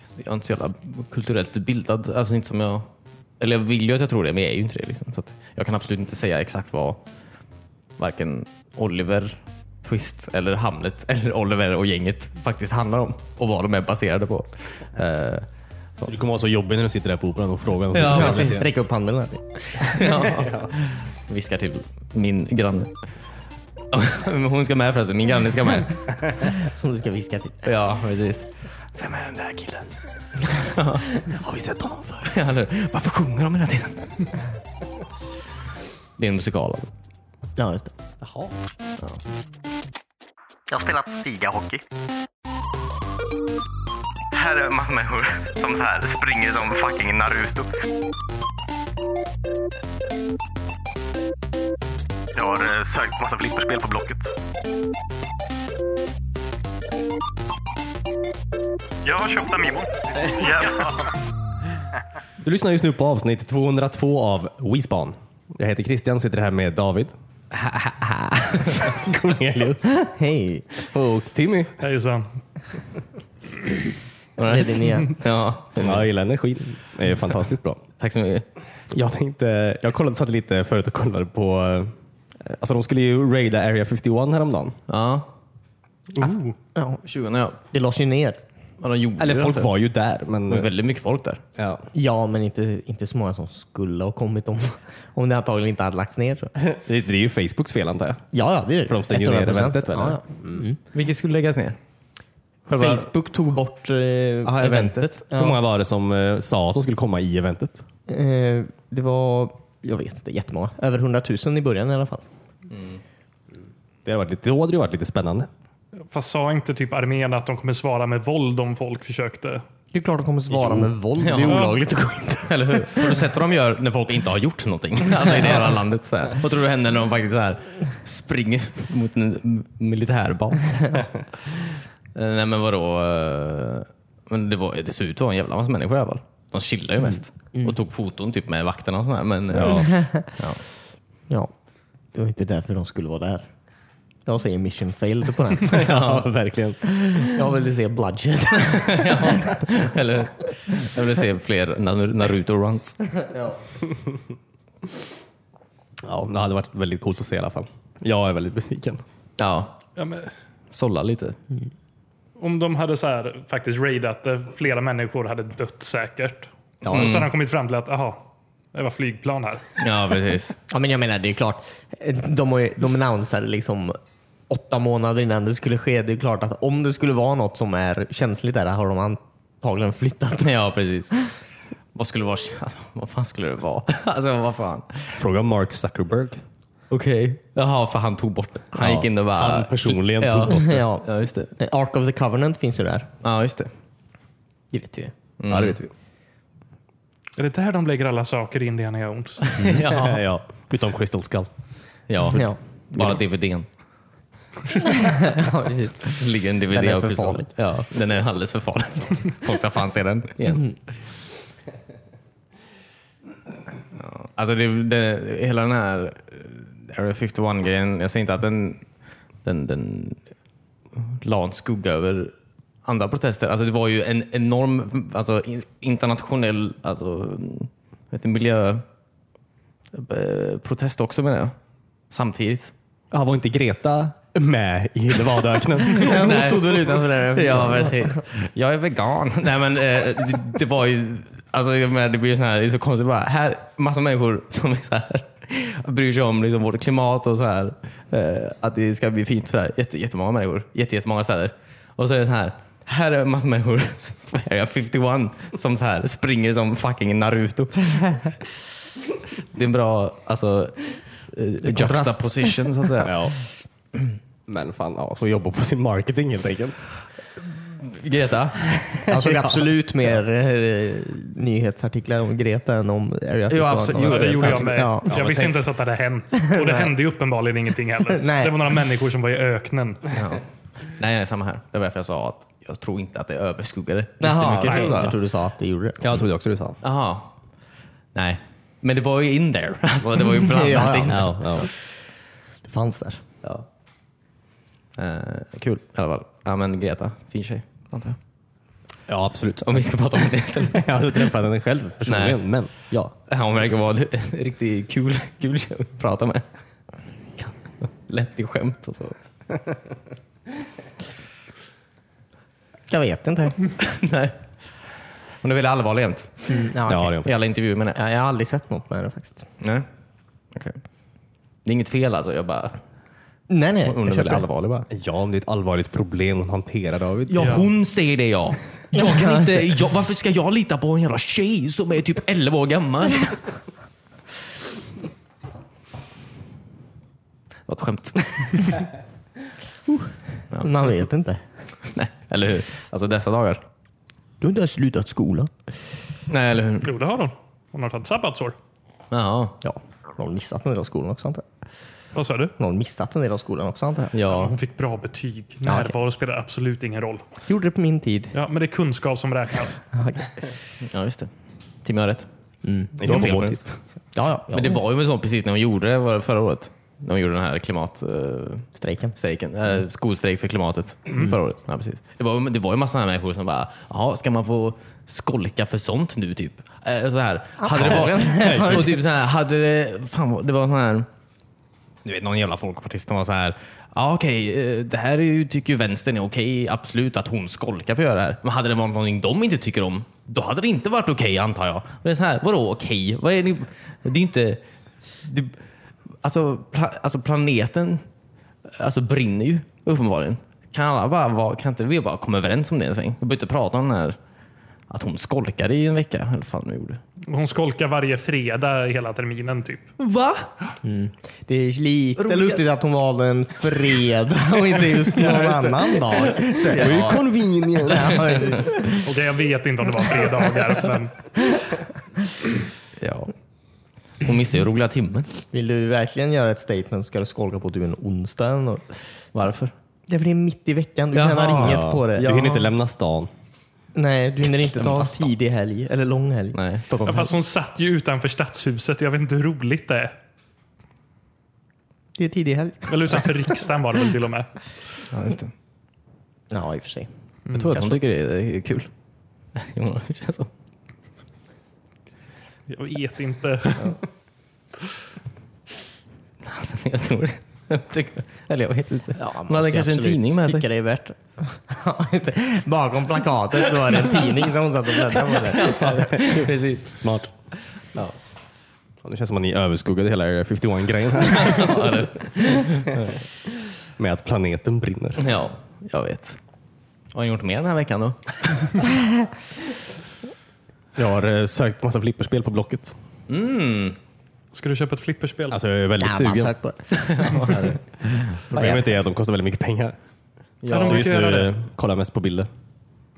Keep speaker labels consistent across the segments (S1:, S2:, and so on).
S1: Alltså, jag är inte så jävla kulturellt bildad. Alltså inte som jag... Eller jag vill ju att jag tror det, men jag är ju inte det. Liksom. Så att jag kan absolut inte säga exakt vad varken Oliver Twist eller Hamlet eller Oliver och gänget faktiskt handlar om och vad de är baserade på. Eh,
S2: Du kommer vara så jobbig när du sitter där på operan och frågar. Och så-
S1: Ja, precis. Räcka upp handen. Här. ja. Viskar till min granne. Men Hon ska med förresten. Min granne ska med.
S3: Som du ska viska till.
S1: Ja, precis. Vem är den där killen? Har vi sett honom förr? Eller, varför sjunger de hela tiden? Det är en musikal. alltså.
S3: Ja, just det.
S2: Jaha.
S4: Jag har spelat stigahockey. Här är en massa människor som så här springer som fucking Naruto. Jag har eh, sökt massa flipperspel på Blocket. Jag har köpt Amiibo. Jävlar.
S2: Du lyssnar just nu på avsnitt 202 av WeSpan. Jag heter Christian, sitter här med David. Cornelius.
S3: Hej!
S2: Och Timmy.
S5: Hejsan.
S3: Det är din nya.
S1: Ja,
S2: Jag gillar energin. Det är fantastiskt bra.
S1: tack så mycket.
S2: Jag tänkte, jag kollade, satt lite förut och kollade på, eh, alltså de skulle ju raida Area 51 häromdagen.
S1: Ja,
S5: Oh.
S3: Ja,
S1: 20 ja.
S3: det lades ju ner.
S1: Ja, de gjorde
S2: Eller
S1: det
S2: folk
S1: inte.
S2: var ju där,
S1: Det var
S2: men...
S1: väldigt mycket folk där.
S2: Ja.
S3: Ja, men inte, inte så många som skulle ha kommit om, om det antagligen inte hade lagts ner. Så. Ja,
S2: Det är ju Facebooks fel antar jag.
S3: ja, det är det.
S2: För de stänger ju ner
S3: 100%.
S2: eventet, väl,
S3: Ja,
S2: eller?
S3: ja.
S1: Vilket skulle läggas ner? Själva-
S3: Facebook tog bort eh, eventet.
S1: eventet.
S2: Hur
S3: Ja.
S2: många var det som eh, sa att de skulle komma i eventet?
S3: Eh, det var, jag vet inte, jättemånga. Över 100 000 i början i alla fall.
S2: Det hade varit lite, då hade det ju varit lite spännande.
S5: Fast sa inte typ armén att de kommer svara med våld om folk försökte?
S3: Det är klart de kommer svara med våld. Det är
S5: Ja.
S3: olagligt att gå in.
S1: Eller hur? Har du sett vad de gör när folk inte har gjort någonting? Alltså i det här landet. Så här. Vad tror du händer när de faktiskt så här springer mot en m- militärbas? Eh, Nej men vadå? eh, Men det, var, det såg ut att vara en jävla massa människor i alla fall. De chillade ju mest. Och tog foton typ med vakterna och sådär. Men Mm. ja.
S3: Ja, det var inte därför de skulle vara där. Jag säger mission failed på den.
S2: ja, verkligen.
S3: Jag vill se bloodshed.
S1: eller jag vill se fler Nar- Naruto-runs.
S2: Ja, det hade varit väldigt coolt att se i alla fall. Jag är väldigt besviken.
S1: Ja,
S5: Ja, men,
S1: sålla lite.
S5: om de hade så här, faktiskt raidat det, flera människor hade dött säkert. Och så hade de kommit fram till att, aha, det var flygplan här.
S1: Ja precis.
S3: Ja, men jag menar, det är klart. De, har ju- de annonsade liksom åtta månader innan det skulle ske. Det är klart att om det skulle vara något som är känsligt där har de antagligen flyttat.
S1: Ja precis. Vad skulle vara, alltså, vad fan skulle det vara? Alltså vad fan.
S2: Fråga Mark Zuckerberg.
S1: Okej. Jaha, för han tog bort det. Han
S2: Ja,
S1: gick in och bara...
S2: han personligen
S1: ja.
S2: tog bort
S3: det. Ja.
S1: Ja, just det.
S3: Ark of the Covenant finns ju där.
S1: Ja, just det. Mm.
S3: Det vet vi
S2: Ja, det vet vi.
S5: Är det där de lägger alla saker i Indiana Jones?
S2: Ja. Mm. ja. Utom Crystal Skull.
S1: Ja,
S3: Ja.
S1: bara DVDn.
S3: Ja, precis.
S1: Det ligger en DVD
S3: Den är
S1: och
S3: för
S1: kristall.
S3: farlig.
S1: Ja, den är alldeles för farlig. Folk ska fan se den igen. Ja, alltså det, det, hela den här eh, Area 51-grejen, jag säger inte att den, den, den la en skugga över andra protester. Alltså det var ju en enorm alltså, in- internationell alltså, vet du, miljö eh, protest också menar jag. Samtidigt.
S2: Ja, var inte Greta med i Nevadaöknen?
S1: Hon stod väl utanför där. Ja, precis. Jag är vegan. Nej, men eh, det, det var ju... Alltså, jag menar, det blir ju sån här, det är så konstigt. Bara, här, massa människor som är så här, bryr sig om liksom, vårt klimat och så här, eh, att det ska bli fint. Så här. Jätte, jättemånga människor, jätte, jättemånga städer. Och så är det så här, här är massa människor, från Area 51, som så här, springer som fucking Naruto. Det är en bra alltså, eh,
S3: kontrast.
S1: juxtaposition så att säga.
S2: ja. Men fan, ja, får jobba på sin marketing helt enkelt.
S1: Greta?
S3: Jag såg Alltså, absolut mer eh, nyhetsartiklar om Greta än om Area 51.
S1: absolut.
S5: Jo, det gjorde jag
S3: Absolut.
S5: med.
S3: alltså, Ja.
S5: jag visste inte ens att det hade hänt. Och det hände ju uppenbarligen ingenting heller.
S3: Nej.
S5: Det var några människor som var i öknen.
S1: Nej, nej, samma här. Det var därför jag sa att jag tror inte att det överskuggade
S3: Jaha,
S1: jättemycket.
S3: jag,
S1: tror
S3: jag tror du sa att det gjorde det.
S2: Jag trodde också du sa.
S1: Jaha. Nej. Men det var ju in there. Alltså, det var ju blandat
S3: Ja, ja.
S1: in.
S2: Ja, ja.
S3: Det fanns där.
S1: Ja. Eh, kul i alla fall. Ja, men Greta, fin tjej. Antar jag.
S2: Ja, absolut.
S1: Om vi ska prata om det istället.
S2: Jag har inte träffat henne själv personligen,
S1: Nej.
S2: men ja.
S1: Han verkar vara en riktigt kul, kul tjej att prata med. Lätt i skämt och så.
S3: Jag vet inte.
S1: Nej. Hon är väldigt allvarlig jämt.
S3: Ja,
S2: Ja,
S3: okej.
S2: det är hon.
S1: I alla intervjuer menar jag.
S3: Ja, jag har aldrig sett något med henne faktiskt.
S1: Nej. Okej. Det är inget fel alltså. Jag bara,
S3: Nej, nej.
S1: hon är
S3: jag köper
S1: väldigt
S3: det.
S1: allvarlig bara.
S2: Ja, om det är ett allvarligt problem hon hanterar David.
S1: Ja, hon säger det ja. Jag kan inte, jag, varför ska jag lita på en jävla tjej som är typ 11 år gammal? Vad skämt.
S3: Man vet inte.
S1: Nej, eller hur? Alltså dessa dagar.
S3: Du har inte ens slutat skolan.
S1: Nej, eller hur?
S5: Jo, det har hon. Hon har tagit sabbatsår.
S1: Ja.
S3: Ja, någon missat en del av skolan också antar jag.
S5: Vad sa du?
S3: Någon missat en del av skolan också antar jag.
S1: Ja.
S5: Hon fick bra betyg. Närvaro spelar absolut ingen roll.
S3: Gjorde det på min tid.
S5: Ja, men det är kunskap som räknas.
S1: Ja, just det. Timmy har rätt.
S2: Inte
S1: har
S2: på
S1: fel
S2: vår
S1: på
S2: tid.
S3: Ja, ja. ja.
S1: Men det var ju en sån precis när hon gjorde det var det förra året. När hon gjorde den här klimat... eh,
S3: strejken. Mm.
S1: strejken, eh, skolstrejk för klimatet förra året. Ja, precis. Det, var, ju- det var ju massa här människor som bara, jaha, ska man få skolka för sånt nu typ? Eh, så här. Hade det varit... och typ så här, hade det... Fan, vad- det var sån här... Du vet, någon jävla folkpartist som var så här. Ja okej, eh, det här är ju, tycker ju vänstern är okej, absolut att hon skolkar för att göra det här. Men hade det varit någonting de inte tycker om, då hade det inte varit okej antar jag. Och det är så här, vadå okej? Vad är ni? Det är ju inte... Det, alltså, pla, alltså planeten alltså, brinner ju uppenbarligen. Kan alla bara vara, kan inte vi bara komma överens om det en sväng? Vi behöver inte prata om den här att hon skolkade i en vecka. Eller vad fan hon gjorde.
S5: Hon skolkar varje fredag hela terminen typ.
S1: Va?
S3: Det är lite
S1: Roliga-
S3: lustigt att hon valde en fredag och inte just någon annan dag. Så, det var ju convenient.
S5: Okej, jag vet inte om det var fredagar, men
S1: Ja. Hon missade ju roliga timmen.
S3: Vill du verkligen göra ett statement ska du skolka på typ en onsdag eller något.
S1: Varför?
S3: Det blir mitt i veckan. Du tjänar inget på det.
S2: Du hinner inte lämna stan.
S3: Nej, du hinner inte ta en tidig helg eller lång helg.
S1: Nej.
S5: ja, fast hon satt ju utanför stadshuset. Jag vet inte hur roligt det är.
S3: Det är tidig helg.
S5: Eller utanför riksdagen var det väl till och med.
S1: Ja, just det.
S3: Ja, i och för sig.
S1: Jag tror att hon tycker det är kul. Jo, det känns så.
S5: Jag vet inte.
S1: Alltså, jag tror det. Jag tycker- Eller jag vet inte.
S3: Ja, man
S1: hon hade
S3: måste
S1: kanske en
S3: absolut
S1: tidning med
S3: tycka
S1: sig.
S3: det är värt det. Ja, just det. Bakom plakatet så var det en tidning som hon satt och bläddrade på. Det.
S1: Precis.
S2: Smart. Ja, det känns som att ni överskuggade hela Area 51-grejen här. Med att planeten brinner.
S1: Ja, jag vet. Har ni gjort mer den här veckan då?
S2: Jag har eh, sökt massa flipperspel på Blocket.
S5: Mm. Ska du köpa ett flipperspel?
S2: Alltså jag är väldigt
S3: Ja, bara
S2: sugen.
S3: sök på det.
S2: Problemet är att de kostar väldigt mycket pengar.
S5: Ja, de
S2: Så just
S5: brukar göra
S2: nu
S5: det.
S2: eh, kollar jag mest på bilder.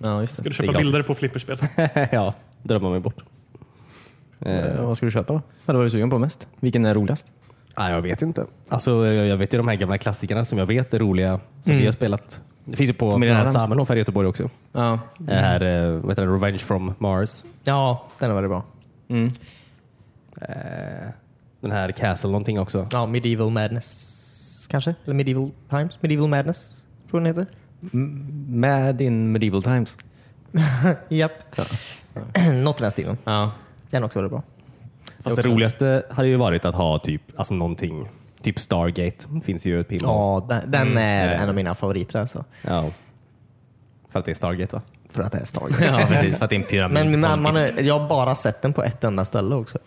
S1: Ja, just
S5: Ska
S1: det.
S5: du
S2: det är
S5: köpa
S2: gratis.
S5: bilder på flipperspel?
S2: ja, drömmer mig bort.
S1: Eh, vad ska du köpa då? Vad var du sugen på mest? Vilken är roligast?
S2: Nej, jag vet inte. Alltså, jag jag vet ju de här gamla klassikerna som jag vet är roliga, som
S5: Mm.
S2: vi har spelat. Det finns ju på
S1: Familjen Addams.
S2: Samenhof här i Göteborg också.
S1: Ja,
S2: Det här, eh, vad heter det, Revenge from Mars.
S3: Ja, den var väldigt bra.
S2: Eh, Den här Castle någonting också.
S3: Ja, Medieval Madness kanske? Eller Medieval Times? Medieval Madness tror jag den heter.
S1: Mad in medieval times.
S3: Japp. Något i den stilen.
S1: Ja.
S3: Den är också väldigt bra.
S2: Fast det roligaste hade ju varit att ha typ, alltså någonting, typ Stargate. Finns ju ett pil
S3: Ja, den, den är
S2: Mm.
S3: en av mina favoriter alltså.
S2: ja. För att det är Stargate va?
S3: För att det är Stargate.
S1: ja, precis. För att det är en pyramid.
S3: Men man, man är, jag har bara sett den på ett enda ställe också.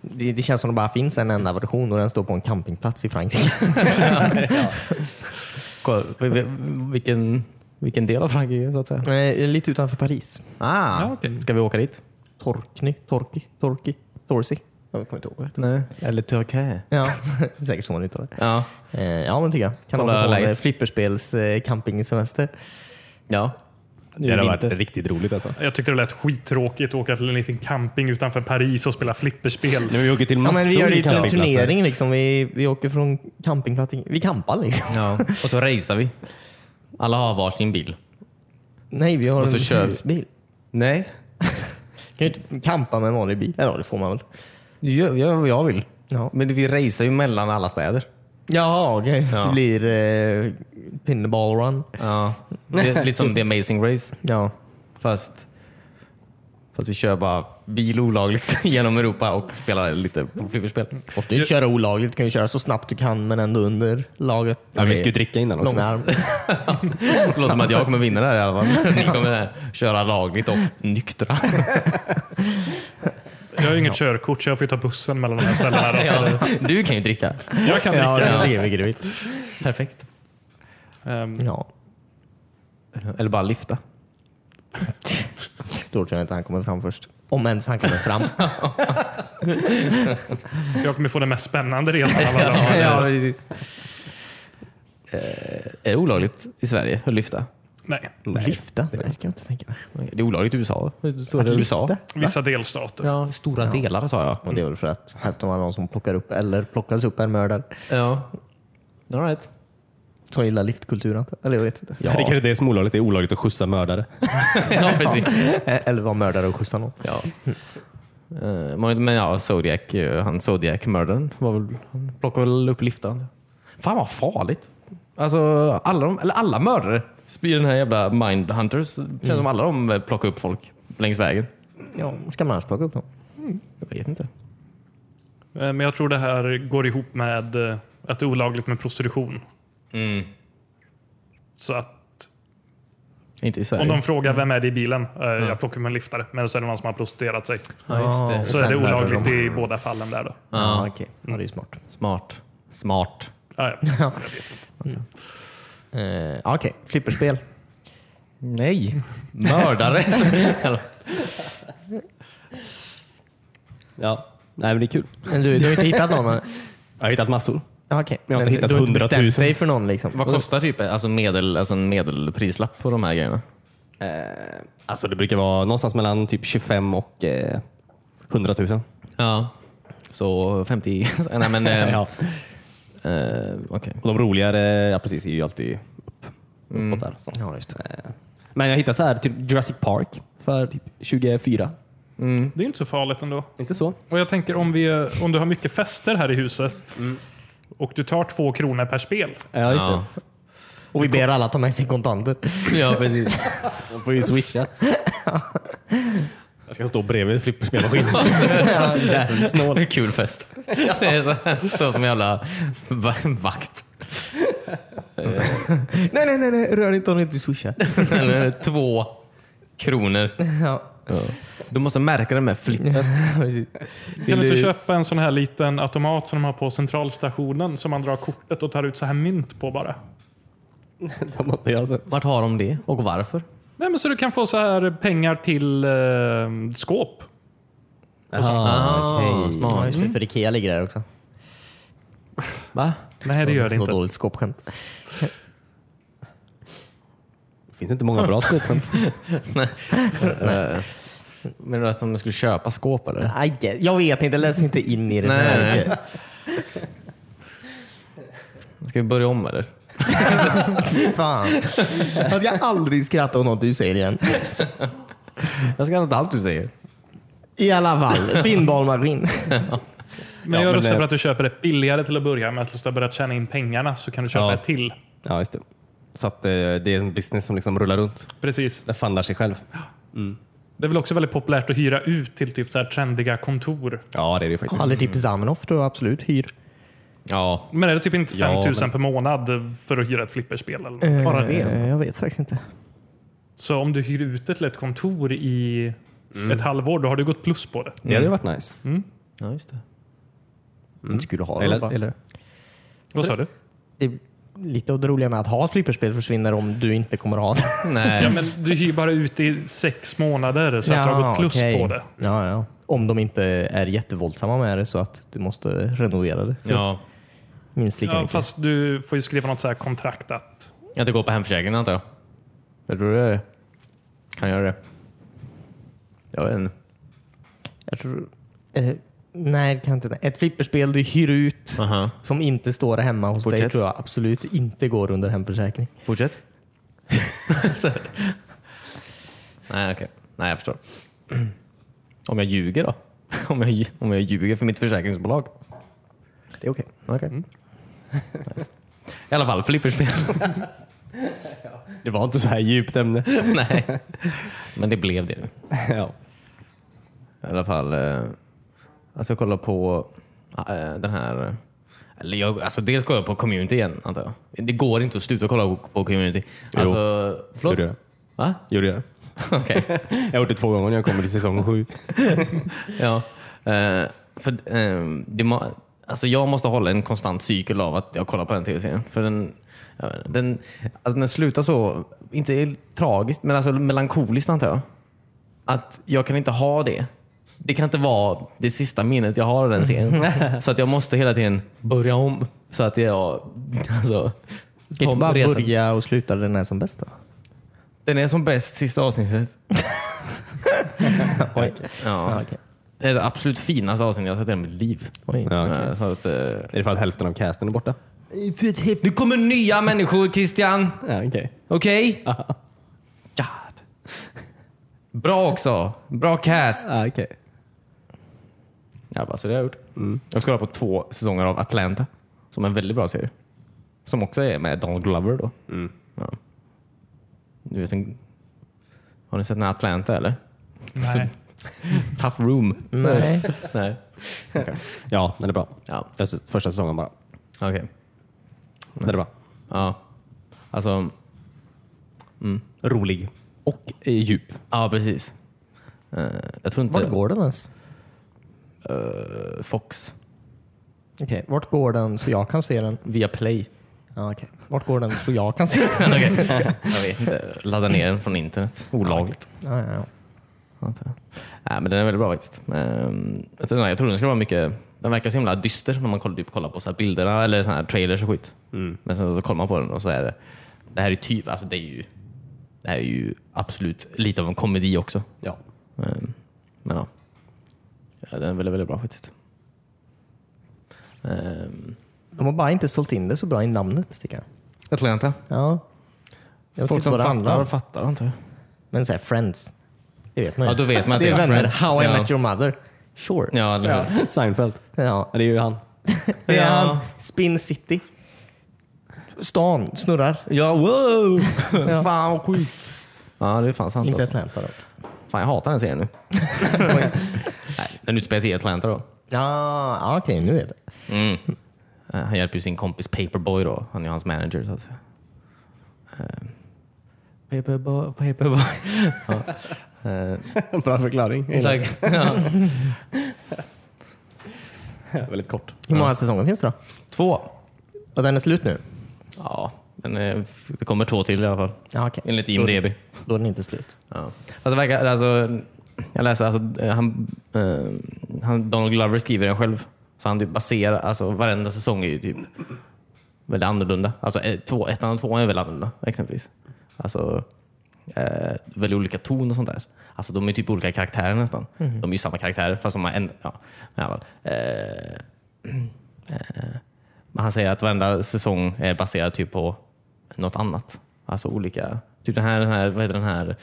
S3: Det, det känns som det bara finns en enda version och den står på en campingplats i Frankrike.
S1: Kolla, vi- vi- vilken, vilken del av Frankrike så att säga?
S3: Eh, Lite utanför Paris.
S1: Ah,
S5: Ja, okej.
S1: Ska vi åka dit?
S3: Torkny, Torki, Torki, Torsi. Jag kommer inte ihåg. vad det heter.
S1: Nej. Eller Turkey.
S3: Ja, det är säkert så man uttalar det.
S1: Ja.
S3: Eh, Ja, men tycker jag. Kan
S1: Kolla
S3: hålla på med
S1: läget.
S3: flipperspels eh, campingsemester.
S1: ja.
S2: Det hade varit
S1: vinter.
S2: riktigt roligt alltså.
S5: Jag tyckte det lät skittråkigt att åka till en liten camping utanför Paris och spela flipperspel.
S2: Nu vi åker till
S3: Ja,
S2: massor
S3: men vi gör det till en
S2: campingplatser.
S3: turnering liksom. Vi, vi åker från campingplats till- Vi campar liksom.
S1: ja. Och så racear vi. Alla har varsin bil.
S3: Nej, vi har
S1: Och så
S3: en
S1: kör vi.
S3: husbil.
S1: Nej,
S3: Kan ju inte campa med en vanlig bil. Eller ja, det får man väl.
S1: jag gör vad jag vill.
S3: Ja.
S1: Men vi racear ju mellan alla städer.
S3: Jaha, okej.
S1: Ja.
S3: Det blir eh, pinnball run.
S1: Ja. Det, lite som The Amazing Race.
S3: Ja.
S1: Fast, fast vi kör bara bil olagligt genom Europa och spelar lite på flipperspel.
S3: Måste ju inte köra olagligt. Du kan ju köra så snabbt du kan men ändå under laget.
S2: Ja, vi ska ju dricka innan också.
S3: Långa arm.
S1: Det låter som att jag kommer vinna det här i alla fall. Ni kommer här köra lagligt och nyktra.
S5: Jag har ju inget körkort så jag får ju ta bussen mellan de här ställena. Då, så
S1: Ja, du kan ju dricka.
S5: jag kan dricka.
S1: ja.
S3: det är väl grymt.
S1: Perfekt.
S5: Ehm,
S3: Ja,
S1: Eller bara lyfta.
S3: då tror jag inte han kommer fram först. Om ens han kommer fram.
S5: jag kommer få den mest spännande resan av alla.
S1: Alltså,
S5: dagar.
S3: precis.
S1: eh, Är det olagligt i Sverige att lyfta?
S5: Nej,
S3: Lyfta? Det kan jag inte tänka mig.
S1: Det är olagligt i USA. Står det i USA?
S5: vissa delstater.
S1: Ja, stora delar sa jag.
S3: Och det är väl för att hälften av de som plockar upp eller plockas upp är mördare.
S1: Ja. All right.
S3: Som gillar liftkulturen. Eller jag vet inte.
S1: Ja.
S2: Det är kanske det som är olagligt. Det är olagligt att skjutsa mördare.
S1: ja, precis.
S3: Eller vara mördare och skjutsa någon.
S1: Ja. Eh, Men men ja, Zodiac, eh, han Zodiac-mördaren, var väl- han plockade väl upp liftan. Fan vad farligt. Alltså, alla, de, eller alla mördare i den här jävla Mindhunters, det känns som alla de eh, plockar upp folk längs vägen.
S3: Ja, ska man annars plocka upp dem?
S1: Jag vet inte.
S5: Eh, Men jag tror det här går ihop med eh, att det är olagligt med prostitution. Så att
S1: Inte i Sverige.
S5: om de frågar vem är det i bilen? Eh, Jag plockar med en liftare. Men så är det någon som har prostituerat sig.
S1: ja, just det.
S5: Så är det
S3: sen mördar
S5: olagligt i båda fallen där då.
S3: Ja, okej. Ja, det är ju smart.
S1: Smart. Smart.
S5: Ja, ja.
S3: Eh, ja, okej, flipperspel.
S1: Nej. Mördare.
S2: Ja. Nej, men det är kul.
S3: Men du, du har inte hittat någon? men-
S2: Jag har hittat massor.
S3: Ja, okej.
S2: Jag har inte
S3: Men
S2: hittat
S3: du inte bestämt
S2: 100 000.
S3: dig för någon liksom?
S1: Vad kostar typ alltså medel, alltså en medelprislapp på de här grejerna?
S2: Alltså det brukar vara någonstans mellan typ 25 och eh, 100 000.
S1: Ja. Så 50... Nej men... eh,
S2: Ja.
S1: eh, Okej.
S2: Och de roligare, ja precis, är ju alltid upp, uppåt där någonstans.
S3: Ja, just det.
S2: Men jag hittade så här, typ Jurassic Park för typ 24.
S5: Det är inte så farligt ändå.
S2: Inte så?
S5: Och jag tänker om, vi, om du har mycket fester här i huset och du tar två kronor per spel.
S2: Ja, just
S1: Ja.
S3: Och vi ber alla ta med sig kontanter.
S1: Ja precis.
S2: det. De får ju swisha. jag ska stå bredvid flipperspelmaskinen.
S1: Jävligt snål. Kul fest. Det är så här, står som en jävla va- vakt.
S3: Nej, nej, nej, nej. rör inte om du inte swishar.
S1: Eller två kronor.
S3: ja.
S1: Du måste märka det med flippen.
S5: Kan du inte köpa en sån här liten automat som de har på centralstationen som man drar kortet och tar ut så här mynt på bara?
S2: De har inte jag sett.
S1: Vart har de det och varför?
S5: Nej, men så du kan få så här pengar till eh, skåp.
S1: Ah,
S3: Okej. Ja, just det. För Ikea ligger där också.
S1: Va?
S5: Nej, det gör det
S3: så
S5: inte.
S3: dåligt skåpskämt.
S2: Det finns inte många bra skåpskämt.
S1: Eh, Menar du att de skulle köpa skåp eller?
S3: Aj, Jag vet inte, läs inte in i det. så
S1: Nej,
S3: här
S1: nej.
S3: mycket.
S1: Ska vi börja om eller?
S3: Fy fan. Jag ska aldrig skratta åt något du säger igen.
S1: Jag ska inte allt du säger.
S3: I alla fall, pinballmaskin.
S5: Men jag
S2: men
S5: röstar
S2: det-
S5: för att du köper ett billigare till att börja med. Att du har börjat tjäna in pengarna så kan du köpa
S2: Ja.
S5: ett till.
S2: Ja, just det. Så att eh, det är en business som liksom rullar runt.
S5: Precis.
S2: Den fundar sig själv.
S5: Det är väl också väldigt populärt att hyra ut till typ så här trendiga kontor.
S2: Ja, det är det ju faktiskt.
S3: Eller typ Zamenhof tror jag absolut hyr.
S1: Ja.
S5: Men är det typ inte
S2: Ja,
S5: 5000
S2: men-
S5: per månad för att hyra ett flipperspel? Eller? något?
S3: Bara det?
S5: alltså?
S3: Eh, Jag vet faktiskt inte.
S5: Så om du hyr ut det till ett kontor i ett halvår, då har du gått plus på det.
S2: Det hade ju varit nice.
S1: Ja just det.
S3: Inte skulle ha det
S2: Eller?
S3: bara.
S2: eller?
S5: Vad sa du?
S3: Det är lite av det roliga med att ha ett flipperspel försvinner om du inte kommer ha det.
S1: Nej.
S5: Ja, men du hyr bara ut i sex månader så att du har gått plus
S3: okej.
S5: på det.
S3: Ja, ja. Om de inte är jättevåldsamma med det så att du måste renovera det för
S1: Ja.
S3: minst lika
S5: Ja,
S3: mycket.
S5: fast du får ju skriva något så här kontrakt att
S1: Att det går på hemförsäkringen antar jag? Jag tror det är det. Kan göra det? Jag vet inte.
S3: Jag tror, eh, nej, det kan jag inte. Ett flipperspel du hyr ut
S1: Aha.
S3: som inte står hemma hos dig
S1: Fortsätt.
S3: tror jag absolut inte går under hemförsäkring.
S1: Fortsätt. Nej, okej. Nej, jag förstår. Om jag ljuger då? Om jag, lj- om jag ljuger för mitt försäkringsbolag?
S3: Det är okej.
S1: Mm. Okej. Nice. I alla fall, flipperspel.
S2: Det var inte så här djupt ämne.
S1: Nej, men det blev det.
S2: ja.
S1: I alla fall. Eh, alltså jag kollar på eh, den här. Eller jag, alltså dels kollar jag på community igen antar jag. Det går inte att sluta kolla på- på community.
S2: Jo.
S1: Alltså, förlåt?
S2: Gjorde jag det?
S1: Va?
S2: Gjorde jag det?
S1: Okej.
S2: Jag har gjort det två gånger när jag kommer till säsong sju.
S1: Ja. Eh, för, eh, det må, alltså jag måste hålla en konstant cykel av att jag kollar på den tv-serien. För den, jag vet inte, den, alltså den slutar så, inte tragiskt, men alltså melankoliskt antar jag. Att jag kan inte ha det. Det kan inte vara det sista minnet jag har av den serien. så att jag måste hela tiden börja om. Så att jag... Alltså,
S3: Kan
S1: tar
S3: inte bara
S1: resan.
S3: börja och sluta där den är som Ah, bäst då?
S1: Den är som bäst sista avsnittet.
S3: Oj.
S1: Ja.
S3: okej.
S1: Det är det absolut finaste avsnittet jag har sett i hela mitt liv.
S3: Oj.
S2: Ja, okej.
S1: Eh, Så att, eh,
S2: Är det för att hälften av casten är borta?
S1: Nu kommer nya människor Christian.
S2: Ja, okej.
S1: Okej? God. Bra också. Bra cast.
S2: Ah, okej.
S1: Ja, bara, så det har jag gjort. Mm. Jag ska kolla på två säsonger av Atlanta. Som är en väldigt bra serie. Som också är med Donald Glover då. Ja. Du vet, en- har ni sett den här Atlanta eller?
S5: Nej.
S1: Tough room.
S3: Nej.
S1: Nej.
S2: Ja, den är bra.
S1: Ja,
S2: Jag har sett första säsongen bara.
S1: okej.
S2: Den är bra.
S1: Ja. Alltså,
S2: Rolig. Och eh, djup.
S1: ja precis. Eh, jag tror inte...
S3: Vart går den ens?
S1: Eh, Fox.
S3: Okej, vart går den så jag kan se den?
S1: Via Play.
S3: Ja, okej. Vart går den så jag kan se den?
S1: Jag vet inte. Ladda ner den från internet. Olagligt.
S3: ja, ja, ja.
S1: antar jag. Nej, men den är väldigt bra faktiskt. Men, jag tror- nej, jag tror den skulle vara mycket... Den verkar så himla dyster när man kollar, typ, kollar på så här bilderna eller så här trailers och skit. Men sen så kollar man på den och så är det... Det här är typ... Alltså det är ju... Det här är ju absolut lite av en komedi också.
S2: Ja.
S1: Men, men ja. ja. Den är väldigt, väldigt bra faktiskt. Ehm,
S3: De har bara inte sålt in det så bra i namnet tycker jag.
S1: Atlanta.
S3: Ja. Jag vet
S1: Folk
S3: inte
S1: som
S3: vad det handlar
S1: fattar,
S3: om.
S1: fattar antar jag.
S3: Men såhär Friends. Det vet man ju.
S1: Ja, då vet man att
S3: det är vänner.
S1: Friends.
S3: How I
S1: ja.
S3: met your mother. Sure.
S1: Ja, eller hur?
S2: Seinfeld.
S3: Ja.
S2: Ja, det är ju han.
S3: Det är
S1: Ja.
S3: han. Spin City. Stan snurrar.
S1: Ja, wow! Fan vad sjukt. Ja, det är fan sant
S3: Inte
S1: alltså.
S3: Atlanta dock.
S1: Fan, jag hatar den serien nu.
S3: Oj.
S1: Nej, den utspelar sig i Atlanta då.
S3: Ja, ja, okej nu är det.
S1: Eh, Han hjälper ju sin kompis Paperboy då. Han är ju hans manager så att säga. Eh, Paperboy, Paperboy. ja. Eh,
S2: bra förklaring.
S1: Tack. Ja.
S2: Väldigt kort.
S3: Hur många säsonger finns det då?
S1: Två.
S3: Och den är slut nu?
S1: Ja, men eh, f- det kommer två till i alla fall.
S3: Ja, okej.
S1: Enligt IMDB.
S3: Då är den inte slut.
S1: Ja. Alltså, verkar, alltså, jag läste, alltså, eh, han, eh, han, Donald Glover skriver den själv. Så han typ baserar, alltså varenda säsong är ju typ väldigt annorlunda. Alltså eh, två, ettan och tvåan är väldigt annorlunda exempelvis. Alltså eh, väldigt olika ton och sånt där. Alltså de är typ olika karaktärer nästan. De är ju samma karaktärer fast de har ändrat, ja, i alla fall. Eh, men han säger att varenda säsong är baserad typ på något annat. Alltså olika. Typ den här, den här, vad heter den här?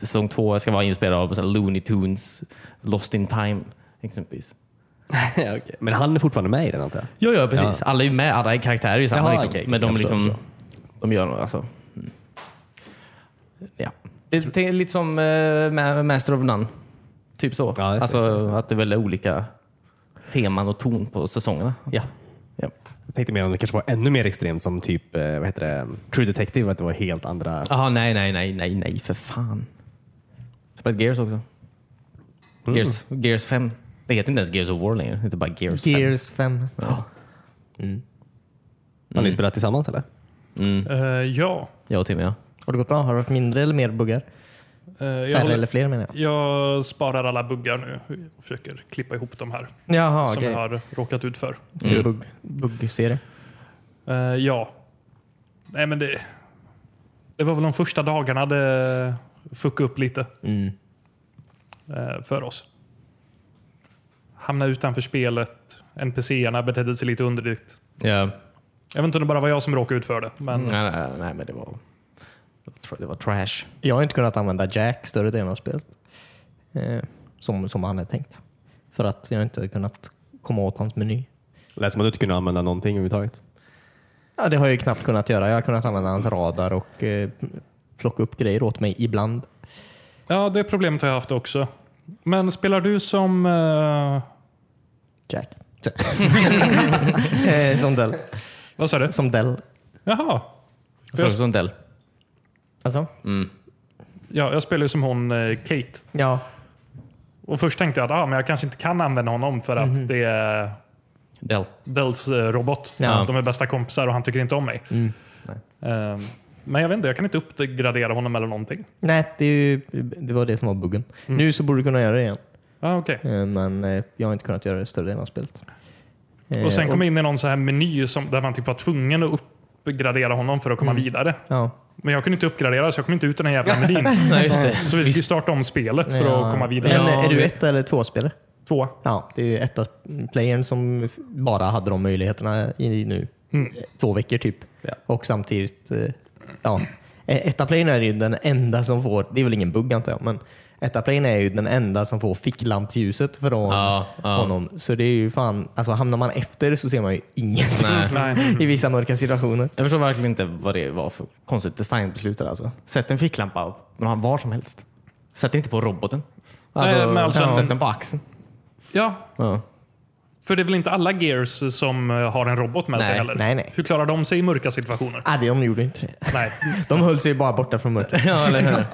S1: Säsong två ska vara inspelad av så här Looney Tunes, Lost in Time exempelvis.
S2: ja, okej. Men han är fortfarande med i den antar jag?
S1: Ja, ja precis. Alla är ju med, alla är karaktärer i samma.
S2: Jaha,
S1: liksom.
S2: okej, okej,
S1: Men de,
S2: jag förstår,
S1: liksom, de gör något. Alltså. Mm. Ja. Det är tänk- lite som eh, Ma- Master of None. Typ så.
S2: Ja, just det,
S1: alltså,
S2: just
S1: Att det är väldigt olika teman och ton på säsongerna.
S2: Ja.
S1: Ja.
S2: Jag tänkte mer om det kanske var ännu mer extremt som typ eh, vad heter det? True Detective, att det var helt andra...
S1: Jaha, nej, nej, nej, nej, nej, för fan. Spelat Gears också. Gears, Gears 5. Det heter inte ens Gears of War längre. Det heter bara Gears, 5.
S3: Gears 5.
S2: Har ni spelat tillsammans eller?
S5: Eh, ja.
S1: Jag och Timmy, ja.
S3: Har det gått bra? Har det varit mindre eller mer buggar?
S5: Eh, jag,
S3: Färre
S5: håller,
S3: eller fler menar jag.
S5: jag sparar alla buggar nu. Jag försöker klippa ihop de här
S3: Jaha,
S5: som
S3: okej.
S5: jag har Typ. råkat ut för.
S3: Till bugg- Buggserie.
S5: Eh, ja. Nej, men det, det var väl de första dagarna det fuckade upp lite
S3: Mm.
S5: eh, för oss. Hamna utanför spelet. NPCerna betedde sig lite underligt.
S1: ja.
S5: Jag vet inte om det bara var jag som råkade ut för det. Men
S1: Mm.
S3: Mm.
S1: Nej, nej, nej, men det var, det var, tra- det var trash.
S3: Jag har inte kunnat använda Jack större delen av spelet. Eh, som, som han är tänkt. För att jag inte har kunnat komma åt hans meny.
S2: Lät som att du inte kunde använda någonting överhuvudtaget.
S3: Ja, det har jag ju knappt kunnat göra. Jag har kunnat använda hans radar och eh, plocka upp grejer åt mig ibland.
S5: Ja, det problemet har jag haft också. Men spelar du som... eh,
S3: Jack. Eh, som Dell.
S5: vad sa du?
S3: Som Dell.
S5: Jaha.
S1: Jag tror som Dell.
S3: Alltså?
S5: Ja, jag spelar ju som hon eh, Kate.
S3: Ja.
S5: Och Först tänkte jag att ah, men jag kanske inte kan använda honom för
S3: Mhm.
S5: att det är
S1: Dell.
S5: Dells eh, robot.
S3: Ja. Mm.
S5: De är bästa kompisar och han tycker inte om mig. Eh, men jag vet inte, jag kan inte uppgradera honom eller någonting.
S3: Nej, det, är ju, det var det som var buggen.
S5: Mm.
S3: Nu så borde du kunna göra det igen.
S5: Ah, okej.
S3: Eh, Men eh, jag har inte kunnat göra det större delen av spelet. Eh,
S5: Och sen kom jag in i någon så här meny som, där man typ var tvungen att uppgradera honom för att
S3: Mm.
S5: komma vidare.
S3: Ja.
S5: Men jag kunde inte uppgradera så jag kom inte ut ur den jävla menyn.
S1: Nej, just det.
S5: Så vi fick ju starta om spelet för
S3: Ja.
S5: att komma vidare.
S3: Eh, Men
S1: Ja,
S3: är du
S1: vi-
S3: ett eller två spelare?
S5: Två.
S3: Ja, det är ju etta-playern som f- bara hade de möjligheterna i nu
S5: Mm.
S3: eh, två veckor typ. Och samtidigt, eh, ja. Eh, Etta-playern är ju den enda som får, det är väl ingen bugg antar jag, men etta-playern är ju den enda som får ficklampsljuset från
S1: Ja, ja.
S3: honom. Så det är ju fan, alltså hamnar man efter så ser man ju ingenting
S5: Nej.
S3: i vissa mörka situationer.
S1: Jag förstår verkligen inte vad det var för konstigt designbeslut där alltså. Sätt en ficklampa men ha var som helst. Sätt inte på roboten.
S5: Nej, men alltså-
S1: sätt den på axeln.
S5: Ja,
S1: Ja.
S5: för det är väl inte alla gears som eh, har en robot med sig
S1: Nej,
S5: heller?
S3: nej, nej.
S5: Hur klarar de sig i mörka situationer?
S3: Nej, de gjorde inte det.
S5: Nej.
S3: De höll sig bara borta från mörkret.
S1: ja, eller hur?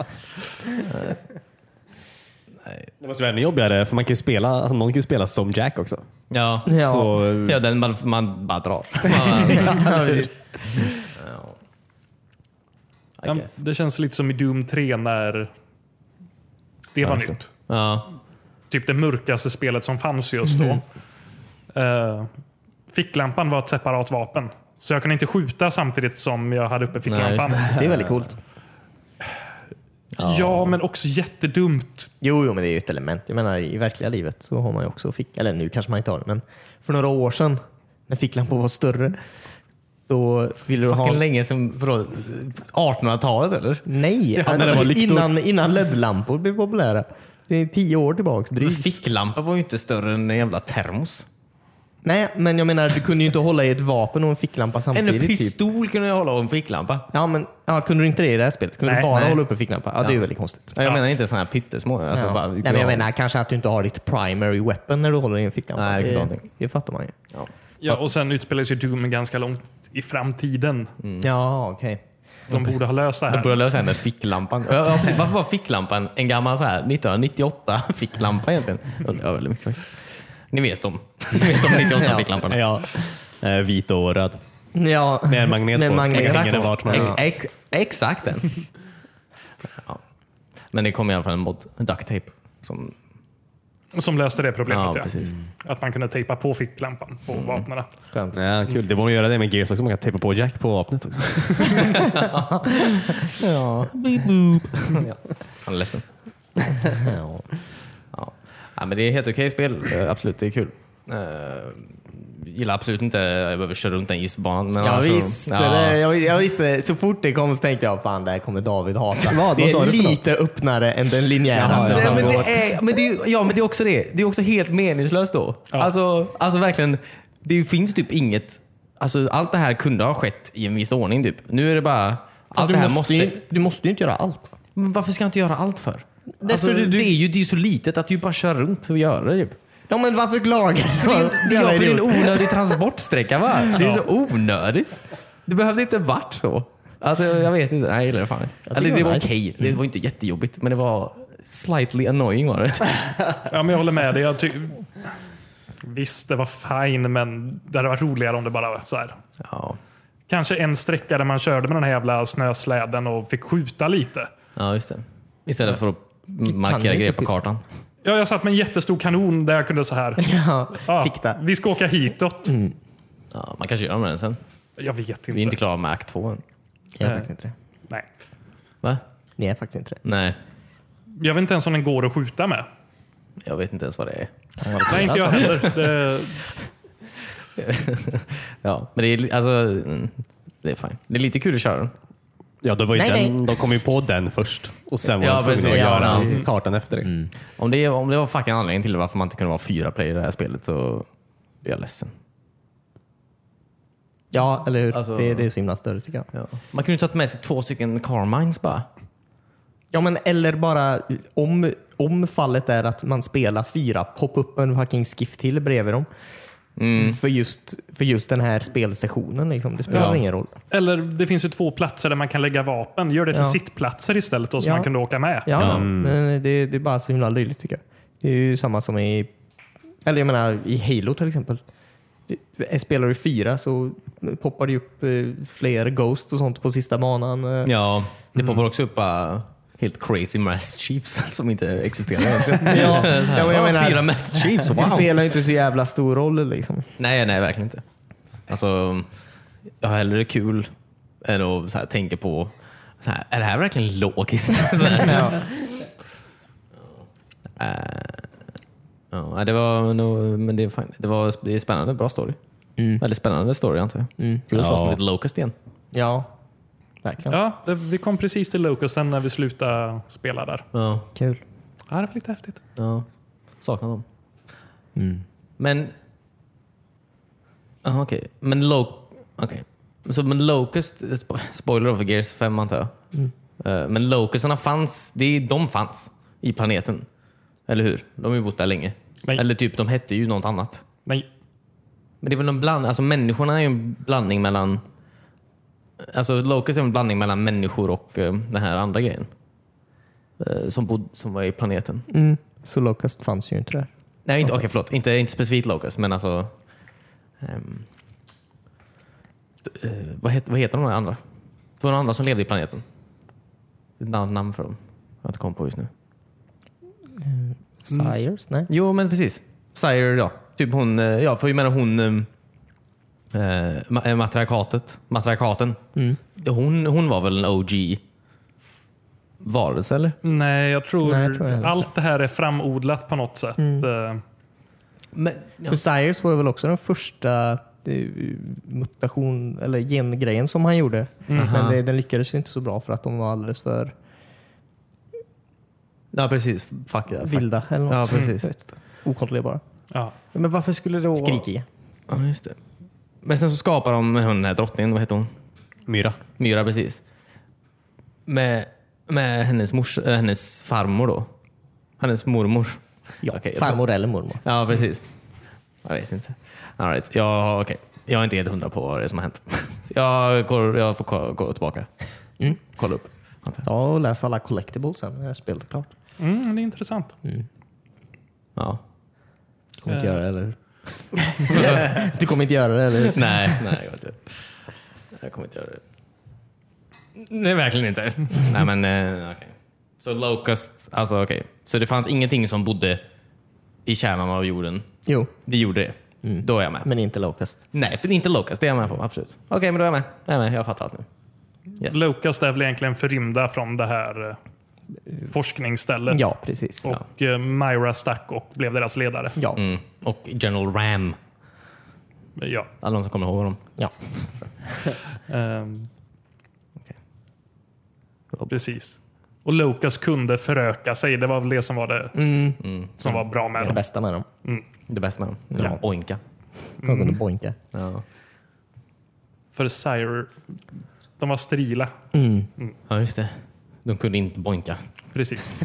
S2: Det måste vara ännu jobbigare, för man kan ju spela, alltså någon kan ju spela som Jack också.
S1: Ja.
S3: Ja.
S2: Så, eh,
S1: ja, den man, man bara drar. Man
S3: Ja, precis.
S1: bara, I
S5: Ja,
S1: guess.
S5: det känns lite som i Doom 3 när det var nytt.
S1: Ja.
S5: Typ det mörkaste spelet som fanns just då. Eh, ficklampan var ett separat vapen. Så jag kunde inte skjuta samtidigt som jag hade uppe ficklampan.
S1: Nej,
S3: det är väldigt coolt.
S5: ja, men också jättedumt.
S3: Jo, jo, men det är ju ett element. Jag menar, i verkliga livet så har man ju också fick... Eller nu kanske man inte har det, men för några år sedan när ficklampor var större, då ville du ha...
S1: Fucking länge som, förlåt, 1800-talet eller?
S3: Nej!
S2: när det var lyktor.
S3: innan, innan LED-lampor blev populära. Det är tio år tillbaks drygt.
S1: Ficklampa var ju inte större än en jävla termos.
S3: Nej, men jag menar, du kunde ju inte hålla i ett vapen och en ficklampa
S1: En
S3: samtidigt. Typ.
S1: pistol kunde jag hålla och en ficklampa.
S3: Ja, men ja, kunde du inte det i det här spelet? Kunde
S5: Nej,
S3: du bara
S1: nej.
S3: hålla uppe ficklampan? Ja, det är ju väldigt konstigt.
S1: Ja, Jag menar inte sådana här pyttesmå. Alltså,
S3: Ja.
S1: bara,
S3: Nej, men jag menar kanske att du inte har ditt primary weapon när du håller i en ficklampa.
S1: Nej, det kan
S3: det,
S1: någonting.
S3: det fattar man ju.
S5: Ja, och sen utspelas ju Doom ganska långt i framtiden.
S3: Mm. Ja, okej.
S5: De borde ha löst det
S1: De
S5: här.
S1: började lösa det med ficklampan. Ja, ja, precis. Varför var ficklampan en gammal så här 1998 ficklampa egentligen? Undrar jag väldigt mycket faktiskt. Ni vet dem. Ni vet om 98 ficklamporna.
S2: ja. Eh, Vit och röd.
S3: Ja.
S2: Med en magnet
S3: Med
S2: på.
S3: magnet.
S2: Så hänger
S1: Exakt,
S2: det vart man
S1: ex, ex, exakt den. Ja. Men det kom i alla fall en mod, duct tape. Som,
S5: Som löste det problemet.
S1: ja,
S5: ja.
S1: precis. Mm.
S5: Att man kunde tejpa på ficklampan på vapnen.
S3: Skönt.
S2: Ja, kul. Mm. Det borde göra det med Gears också. Man kan tejpa på Jack på vapnet också.
S3: Ja.
S1: Han är ledsen.
S3: Ja.
S1: Ja. Ja, men det är helt okej spel. Eh, Absolut, det är kul. Eh, gillar absolut inte att jag behöver köra runt den isbanan. Men
S3: Jag
S1: annars så-
S3: visste
S1: Alltså, Ja.
S3: det. Jag, jag visste det. Så fort det kom så tänkte jag fan det här kommer David hata.
S2: Vad?
S3: det
S2: Vad sa
S3: är
S2: du för något?
S3: lite öppnare än den linjäraste
S2: Jaha, ja.
S1: Nej,
S3: som
S1: men
S3: går.
S1: det är, men det är, ja, men det är också det. Det är också helt meningslöst då. Alltså, alltså verkligen, det finns typ inget. Alltså, allt det här kunde ha skett i en viss ordning. Typ. Nu är det bara, allt det här måste...
S3: ju- du måste ju inte göra allt.
S1: Men varför ska jag inte göra allt för?
S3: Därför
S1: Alltså,
S3: du- du-
S1: det, är ju, det är ju så litet att du bara kör runt och gör det. Typ.
S3: Ja men varför klagar du?
S1: Det
S3: Jävla
S1: är ju en
S3: idiot.
S1: onödig transportsträcka va? Det är så onödigt. Det behövde inte varit så. Alltså jag vet inte, nej jag gillar det fan inte.
S3: tycker
S1: Eller det
S3: det var
S1: var
S3: nice.
S1: okej, det var inte jättejobbigt men det var slightly annoying var det.
S5: Ja, men jag håller med dig. Jag ty- Visst, det var fine, men det hade varit roligare om det bara var så här.
S1: Ja,
S5: Kanske en sträcka där man körde med den här jävla snösläden och fick skjuta lite.
S1: ja just det. Istället för att
S3: kan ju
S1: markera
S3: inte
S1: grejer på
S3: skjuta.
S1: kartan.
S5: Ja, jag satt med en jättestor kanon där jag kunde så här.
S3: Ja,
S5: Ja,
S3: sikta.
S5: Vi ska åka hitåt.
S1: Ja, man kanske gör med den sen.
S5: Jag vet inte.
S1: Mm. Vi är inte klara med akt två än.
S3: Jag är faktiskt inte det.
S5: Nej.
S1: Va?
S3: Ni är faktiskt inte det.
S1: Nej,
S5: Jag vet inte ens om den går att skjuta med.
S1: jag vet inte ens vad det är.
S5: Nej, inte jag heller. Det,
S1: Ja, men det är, alltså, mm, det är fine. Det är lite kul att köra den.
S2: Ja, det var ju
S3: Nej,
S2: den, de kom ju på den först och sen var
S1: Ja,
S2: de tvungna att
S1: precis.
S2: göra
S1: Ja,
S2: kartan efter det.
S1: Om det, om det var fucking anledningen till varför man inte kunde vara fyra player i det här spelet så är jag ledsen.
S3: Ja, eller hur?
S1: Alltså-
S3: Det, det är så himla större tycker jag.
S1: Ja. Man kunde ju tagit med sig två stycken Carmines bara.
S3: Ja, men eller bara om, om fallet är att man spelar fyra, poppa upp en fucking skiff till bredvid dem.
S1: Mm.
S3: För, just, för just den här spelsessionen. Liksom. Det spelar
S1: Ja.
S3: ingen roll.
S5: Eller det finns ju två platser där man kan lägga vapen. Gör det till
S3: Ja.
S5: sittplatser istället då, så
S3: Ja.
S5: man kunde åka med.
S3: Ja,
S1: Ja.
S3: men det, det är bara så himla löjligt tycker jag. Det är ju samma som i, eller jag menar i Halo till exempel. Du- Spelar du fyra så poppar det ju upp eh, fler Ghost och sånt på sista banan. eh.
S1: Ja, det poppar också upp bara helt crazy Mass Chiefs som inte existerar egentligen.
S3: Ja, ja, men jag
S1: Ah,
S3: menar,
S1: Fyra Mass Chiefs,
S3: Det
S1: wow!
S3: spelar ju inte så jävla stor roll liksom.
S1: Nej, nej, verkligen inte. Alltså, jag har hellre kul än att så här, tänka på så här, är det här verkligen logiskt? Så här.
S3: Ja.
S1: Eh, ja, nej, det var, nog- men det, är fan- det var det är spännande, bra story. Väldigt spännande story antar jag. Kul att slåss
S2: Ja.
S1: mot ett Locust igen.
S3: Ja, verkligen.
S5: Ja, det, vi kom precis till Locusten när vi slutade spela där.
S1: Ja.
S3: Kul.
S5: Ja, det var lite häftigt.
S1: Ja, saknar dem. Men... Jaha, okej. Men Lo... Okej. Så Men Locust... spo- Spoiler då för Gears 5 antar jag. Eh, Men Locustarna fanns, det, är- de fanns i planeten. Eller hur? De har ju bott där länge.
S5: Nej.
S1: Eller typ, de hette ju något annat.
S5: Nej,
S1: Men det är väl en bland... Alltså människorna är ju en blandning mellan... Alltså Locust är en blandning mellan människor och eh, den här andra grejen. Eh, Som, bod, som var i planeten.
S3: Mm. Så Locust fanns ju inte där.
S1: Nej, inte, okej, förlåt. Inte, inte specifikt Locust, men alltså... ehm, eh, vad, heter, vad heter de här andra? Det var några andra som levde i planeten. Ett namn, namn för dem. Jag har inte kommit på just nu.
S3: Sires? Nej.
S1: Jo, men precis. Sire, ja. Typ hon, eh, ja, för jag menar hon... ehm, Eh, ma- eh, matriarkatet. Matriarkaten.
S3: Mm.
S1: Hon, hon var väl en OG varelse, eller?
S5: Nej, jag tror,
S3: Nej, jag tror jag inte.
S5: allt det här är framodlat på något sätt. Eh,
S1: Men,
S3: För Sires var väl också den första eh, mutation eller gengrejen som han gjorde. Men det, den lyckades ju inte så bra för att de var alldeles för
S1: ja, precis. Fuck, yeah, fuck.
S3: vilda. Eller något.
S1: Ja, precis.
S3: Jag vet inte. Okontrollerbara.
S5: Ja.
S1: Men varför skulle då...
S3: Skrikiga.
S1: Ja, just det. Men sen så skapar de hon, den här drottningen, vad heter hon?
S2: Myra.
S1: Myra, precis. Med, med hennes, mors, äh, hennes farmor då. Hennes mormor.
S3: Ja,
S1: Okej, jag-
S3: farmor eller mormor.
S1: Ja, precis. Jag vet inte. All right. ja, okej. Jag är inte helt hundra på vad det är som har hänt. Så jag, går, jag får ko- gå tillbaka. Mm. Kolla upp. antar jag.
S3: Ja, och läs alla collectibles sen när spelet är klart.
S5: Mm, det är intressant.
S1: Ja.
S3: Kommer inte göra det, eller hur? Du kommer inte göra det, eller hur?
S1: Nej, nej, jag, vet inte. jag kommer inte göra det. Nej, verkligen inte. nej, men eh, okej. Så Locust, alltså okej. Så det fanns ingenting som bodde i kärnan av jorden?
S3: Jo,
S1: Det gjorde det. Då är jag med.
S3: men inte Locust.
S1: Mm. Nej, men inte Locust. Det är jag med på. Absolut. Okej, men då är jag med. Jag, är med. jag fattar allt nu. Yes.
S5: Locust är väl egentligen förrymda från det här eh, forskningsstället.
S3: Ja, precis.
S5: Och eh, Myra stack och blev deras ledare.
S3: Ja.
S1: Mm. Och General Ram.
S5: Ja.
S1: Alla de som kommer ihåg honom.
S3: ja.
S5: Ehm. Precis. Och Locust kunde föröka sig. Det var väl det som var det som var bra med
S3: Det är det
S5: dem.
S3: bästa med dem.
S1: Det bästa med dem. Ja. Oinka.
S3: De kunde boinka.
S1: Ja.
S5: För Sire, de var strila.
S1: ja, just det. De kunde inte boinka.
S5: Precis.